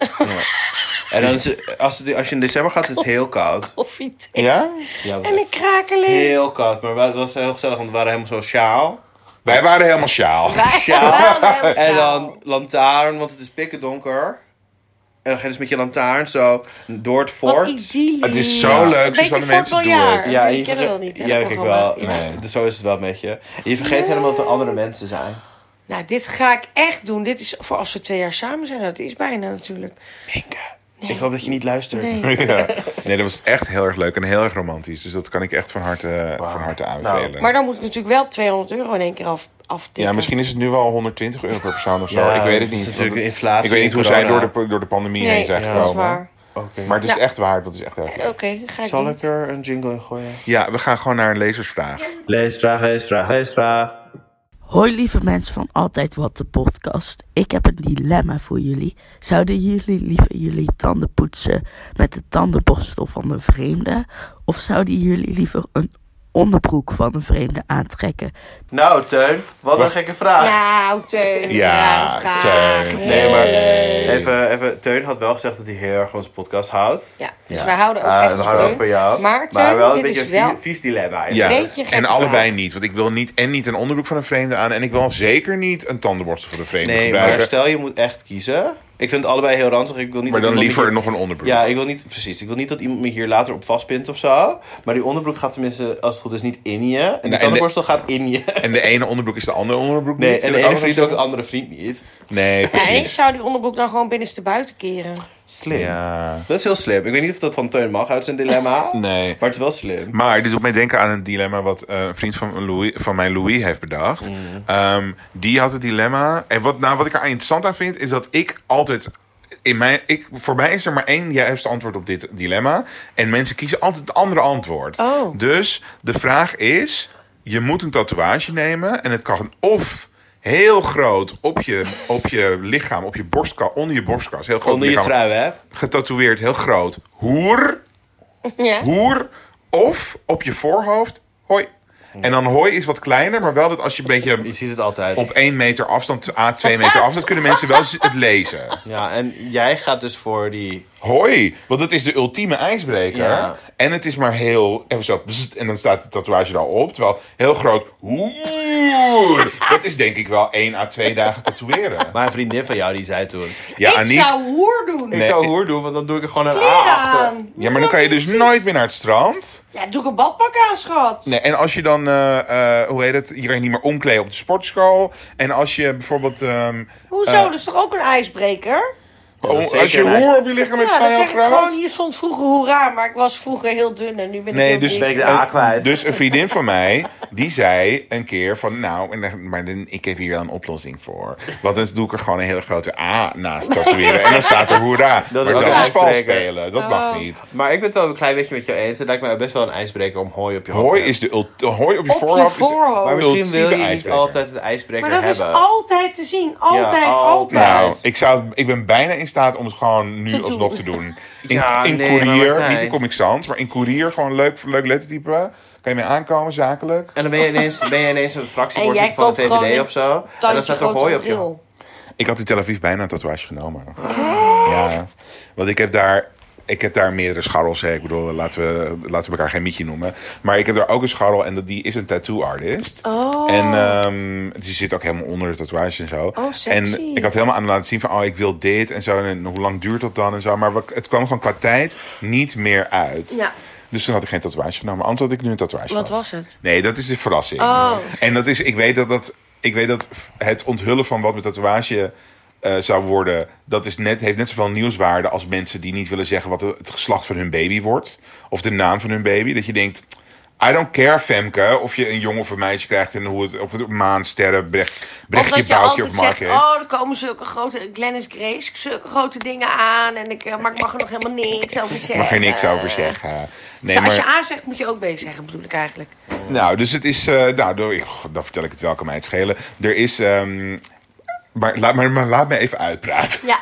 En dan is het- als, het- als je in december gaat, is het heel koud. Koffie, thee Ja? Ja, en een krakeling. Heel koud. Maar het was heel gezellig, want we waren helemaal zo sjaal. Wij waren helemaal sjaal. Sjaal. Waarom En dan lantaarn, want het is pikken donker. En dan ga je dus met je lantaarn zo door het Wat fort. idyllisch. Het is zo leuk, zo Beetje zouden mensen doen voetbaljaar. het. Ja, die kennen verge- dat niet, hè, Ja, dat ik programma. wel. Ja. Nee, dus zo is het wel met je. Je vergeet helemaal dat er andere mensen zijn. Nou, dit ga ik echt doen. Dit is voor als we twee jaar samen zijn. Dat is bijna natuurlijk. Ik hoop dat je niet luistert. Nee. Ja. Nee, dat was echt heel erg leuk en heel erg romantisch. Dus dat kan ik echt van harte, van harte Nou, aanbevelen. Maar dan moet ik natuurlijk wel 200 euro in één keer af, aftikken. ja, misschien is het nu wel 120 euro per persoon of zo. Ja, ik weet het dat is niet. want natuurlijk het- inflatie ik weet niet en hoe zij corona. door de, door de pandemie Nee, heen zijn dat is gekomen. waar. Oké. Maar het is Ja. echt waard, dat is echt heel erg leuk. Oké, ga ik Zal doen. ik er een jingle in gooien? Ja, we gaan gewoon naar een lezersvraag. Leesvraag, leesvraag, leesvraag. Hoi lieve mensen van Altijd Wat de podcast. Ik heb een dilemma voor jullie. Zouden jullie liever jullie tanden poetsen met de tandenborstel van een vreemde? Of zouden jullie liever een onderbroek van een vreemde aantrekken? Nou, Teun, wat een gekke vraag. Nou, Teun. Ja, vraag. Teun. Nee, maar... Even, even, Teun had wel gezegd dat hij heel erg van onze podcast houdt. Ja, dus wij houden ook Ah, echt we houden ook Teun. van jou. Maar Teun, maar wel een dit beetje is een wel... vie- vies dilemma. is Ja, het. Beetje gek en allebei verhaal. niet. Want ik wil niet en niet een onderbroek van een vreemde aan. En ik wil zeker niet een tandenborstel van een vreemde Nee, maar gebruiken. Maar, stel je moet echt kiezen. Ik vind het allebei heel ranzig. Ik wil niet dat dan iemand liever me hier- nog een onderbroek. Ja, ik wil niet, precies. Ik wil niet dat iemand me hier later op vastpint of zo. Maar die onderbroek gaat tenminste, als het goed is, niet in je. En die de- tandenborstel gaat in je. En de ene onderbroek is de andere onderbroek Nee, niet. en de ene andere vriend is- ook de andere vriend niet. Nee, Ja, en ik precies. zou die onderbroek dan gewoon binnenstebuiten keren. Slim. Ja. Dat is heel slim. Ik weet niet of dat van Teun mag uit zijn dilemma. Nee. Maar het is wel slim. Maar dit doet mij denken aan een dilemma wat eh, een vriend van, Louis, van mij, Louis, heeft bedacht. Mm. Ehm, die had het dilemma. En wat, nou, wat ik er interessant aan vind, is dat ik altijd. In mijn, ik, voor mij is er maar één juiste antwoord op dit dilemma. En mensen kiezen altijd het andere antwoord. Oh. Dus de vraag is: je moet een tatoeage nemen. En het kan of heel groot op je, op je lichaam, op je borstkas, onder je borstkas. Heel groot Onder je lichaam, trui, hè? Getatoeëerd, heel groot. Hoer Ja. hoer of op je voorhoofd hoi. En dan hoi is wat kleiner, maar wel dat als je een Je beetje ziet het altijd. op 1 meter afstand, a 2 meter afstand, kunnen mensen wel z- het lezen. Ja, en jij gaat dus voor die... Hoi, want dat is de ultieme ijsbreker. Ja. En het is maar heel, even zo, bzzt, en dan staat de tatoeage er al op. Terwijl heel groot, hoer, dat is denk ik wel 1 à 2 dagen tatoeëren. Maar een vriendin van jou die zei toen... Ja, ik Aniek, zou hoer doen. Ik Nee, zou ik- hoer doen, want dan doe ik er gewoon een A Kleren achter. aan. ja, maar dan kan je dus nooit meer naar het strand. Ja, doe ik een badpak aan, schat. Nee, en als je dan, eh, eh, hoe heet het, je kan je niet meer omkleden op de sportschool. En als je bijvoorbeeld... ehm, Hoezo? eh, dat is toch ook een ijsbreker? Oh, zeker als je een een eigen- hoer op je lichaam hebt Ja, staan, dan je zeg al ik gewoon, graag. hier stond vroeger hoera, maar ik was vroeger heel dun en nu ben ik Nee, heel dus dik. Ben ik de A kwijt? Dus een vriendin van mij, die zei een keer van... Nou, en dan- maar dan, ik heb hier wel een oplossing voor. Want dan doe ik er gewoon een hele grote A naast tatoeëren. En dan staat er hoera. Dat is maar ook dat een is vals uitspreker. spelen. Dat Oh. mag niet. Maar ik ben het wel een klein beetje met jou eens. Het lijkt mij ook best wel een ijsbreker om hooi op je hoofd te Hooi hebben. is de ult- hooi op je Op je voorhoofd. is- voorhoofd. Maar misschien wil je ultieme niet ijsbreker. altijd een ijsbreker Maar dat is hebben. altijd te zien. Altijd, Ja, altijd. altijd. Nou, Yes. ik, zou, ik ben bijna in staat om het gewoon nu Te doen. alsnog te doen. In, Ja, in nee, maar courier, Martijn. niet in Comic Sans, maar in courier gewoon leuk, leuk lettertype. Kan je mee aankomen, zakelijk. En dan ben je ineens, ben je ineens een En fractievoorzitter Oh, jij van de koopt gewoon VVD een of zo. En dan Tandje staat er hooi grote op je hoofd. bril. Ik had in Tel Aviv bijna een tatoeage genomen. Ja, want ik heb daar... Ik heb daar meerdere scharrels. Hè. Ik bedoel, laten we, laten we elkaar geen mietje noemen. Maar ik heb daar ook een scharrel en dat, die is een tattoo artist. Oh. En ehm, die zit ook helemaal onder de tatoeage en zo. Oh, sexy. En ik had helemaal aan laten zien van, oh, ik wil dit en zo. En hoe lang duurt dat dan en zo. Maar we- het kwam gewoon qua tijd niet meer uit. Ja. Dus toen had ik geen tatoeage genomen. Anders had ik nu een tatoeage Wat gehad. was het? Nee, dat is een verrassing. Oh. En dat is, ik weet dat, dat, ik weet dat het onthullen van wat met tatoeage eh, zou worden, dat is net, heeft net zoveel nieuwswaarde als mensen die niet willen zeggen wat het geslacht van hun baby wordt. Of de naam van hun baby. Dat je denkt, I don't care Femke, of je een jongen of een meisje krijgt en hoe het, of het maan, sterren, brecht, Of brechtje, dat je boutje of altijd mark zegt, heet. oh, er komen zulke grote, Glennis Grace, zulke grote dingen aan. En ik, eh, maar ik mag er nog helemaal niks over zeggen. Mag er niks over zeggen. Nee, Dus als maar- je A zegt, moet je ook B zeggen, bedoel ik eigenlijk. Nou, dus het is. eh nou, door- ik- goh, dan vertel ik het wel, kan mij het schelen. Er is. ehm, maar, laat, maar, maar laat me even uitpraten. Ja.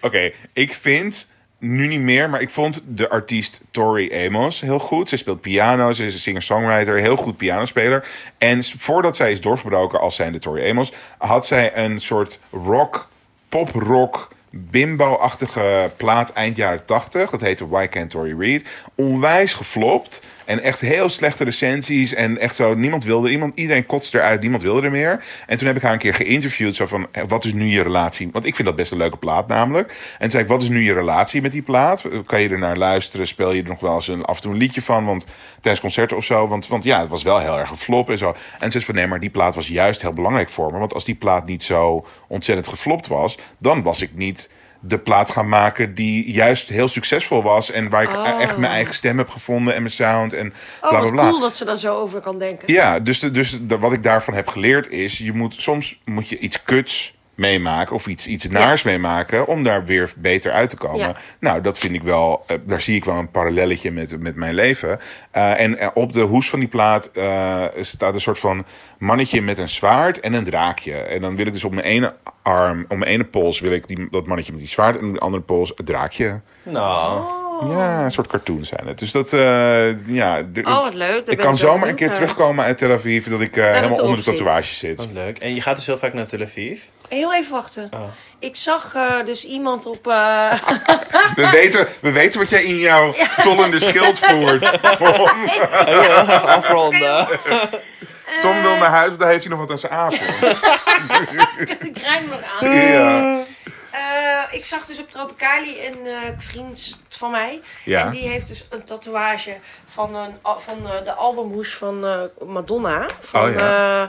Oké, ik vind. Nu niet meer, maar ik vond de artiest Tori Amos heel goed. Ze speelt piano, ze is een singer-songwriter, heel goed pianospeler. En s- voordat zij is doorgebroken als zijnde Tori Amos, had zij een soort rock, pop-rock, bimbo-achtige plaat eind jaren 80. Dat heette Why Can't Tori Read. Onwijs geflopt. En echt heel slechte recensies. En echt zo, niemand wilde. Iemand, iedereen kotste eruit, niemand wilde er meer. En toen heb ik haar een keer geïnterviewd. Zo van, eh, wat is nu je relatie? Want ik vind dat best een leuke plaat namelijk. En toen zei ik, wat is nu je relatie met die plaat? Kan je er naar luisteren? Speel je er nog wel eens een, af en toe een liedje van? Want tijdens concerten of zo. Want, want ja, het was wel heel erg een flop en zo. En ze is van, nee, maar die plaat was juist heel belangrijk voor me. Want als die plaat niet zo ontzettend geflopt was... dan was ik niet de plaat gaan maken die juist heel succesvol was. En waar ik e- echt mijn eigen stem heb gevonden en mijn sound en bla Oh, bla wat bla. cool dat ze daar zo over kan denken. Ja, dus, de- dus de- wat ik daarvan heb geleerd is, je moet, soms moet je iets kuts meemaken of iets, iets naars meemaken om daar weer beter uit te komen. Ja. Nou, dat vind ik wel, eh, daar zie ik wel een parallelletje met, met mijn leven. Eh, en eh, op de hoes van die plaat eh, staat een soort van mannetje met een zwaard en een draakje. En dan wil ik dus op mijn ene arm, op mijn ene pols wil ik die, dat mannetje met die zwaard en op de andere pols het draakje. Nou, Ja, een soort cartoon zijn het. Dus dat, eh, ja. d- Oh, wat leuk. Daar ik ben kan ik wel zomaar een benieuwd keer naar. terugkomen uit Tel Aviv dat ik eh, helemaal het onder de erop zit. tatoeage zit. Oh. wat leuk. En je gaat dus heel vaak naar Tel Aviv. Heel even wachten. Ah. Ik zag eh, dus iemand op... eh, We weten, we weten wat jij in jouw tollende schild voert. Tom, Afronden. Tom wil naar huis, want daar heeft hij nog wat aan zijn avond. ik ruim nog aan. Ja. Eh, ik zag dus op Tropicali een eh, vriend van mij. Ja. En die heeft dus een tatoeage van, een, al- van eh, de albumhoes van eh, Madonna. Van, Oh,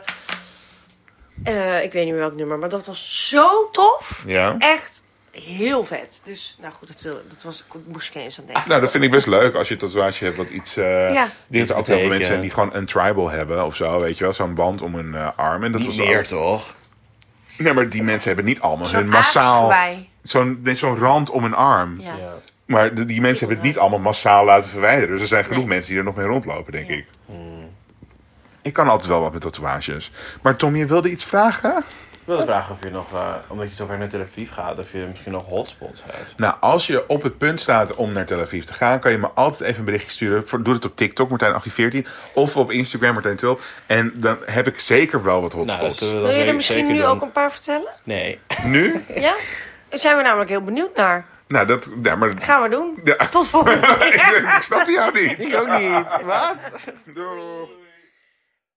eh, eh, ik weet niet meer welk nummer, maar dat was zo tof. Ja. Echt heel vet. Dus, nou goed, dat, wil- dat was, moest ik eens aan denken. Nou, dat vind ik best leuk als je een tatoeage hebt wat iets. eh Ja. Ik denk dat er altijd heel veel mensen zijn die Betekent. gewoon een tribal hebben of zo, weet je wel, zo'n band om hun eh, arm. En dat was Niet wel- meer toch? Nee, maar die mensen hebben niet allemaal Zo'n hun massaal. aapsgewei. Zo'n nee, zo'n rand om hun arm. Ja. Ja. Maar de- die mensen hebben het niet allemaal massaal laten verwijderen. Dus er zijn genoeg mensen die er nog mee rondlopen, denk ik. Ik kan altijd wel wat met tatoeages. Maar Tom, je wilde iets vragen? Ik wilde vragen of je nog, eh, omdat je zo ver naar Tel Aviv gaat, of je misschien nog hotspots hebt. Nou, als je op het punt staat om naar Tel Aviv te gaan... kan je me altijd even een berichtje sturen. Voor- Doe het op TikTok, Martijn1814. Of op Instagram, Martijn Tulp. En dan heb ik zeker wel wat Nou, dat hotspots. zullen we dan Wil je er zeker- misschien zeker nu doen. ook een paar vertellen? Nee. Nu? Ja? Daar zijn we namelijk heel benieuwd naar. Nou, dat... Ja, maar... Gaan we doen. Ja. Tot volgende keer. ik snapte jou niet. Ik ook niet. Wat? Doeg.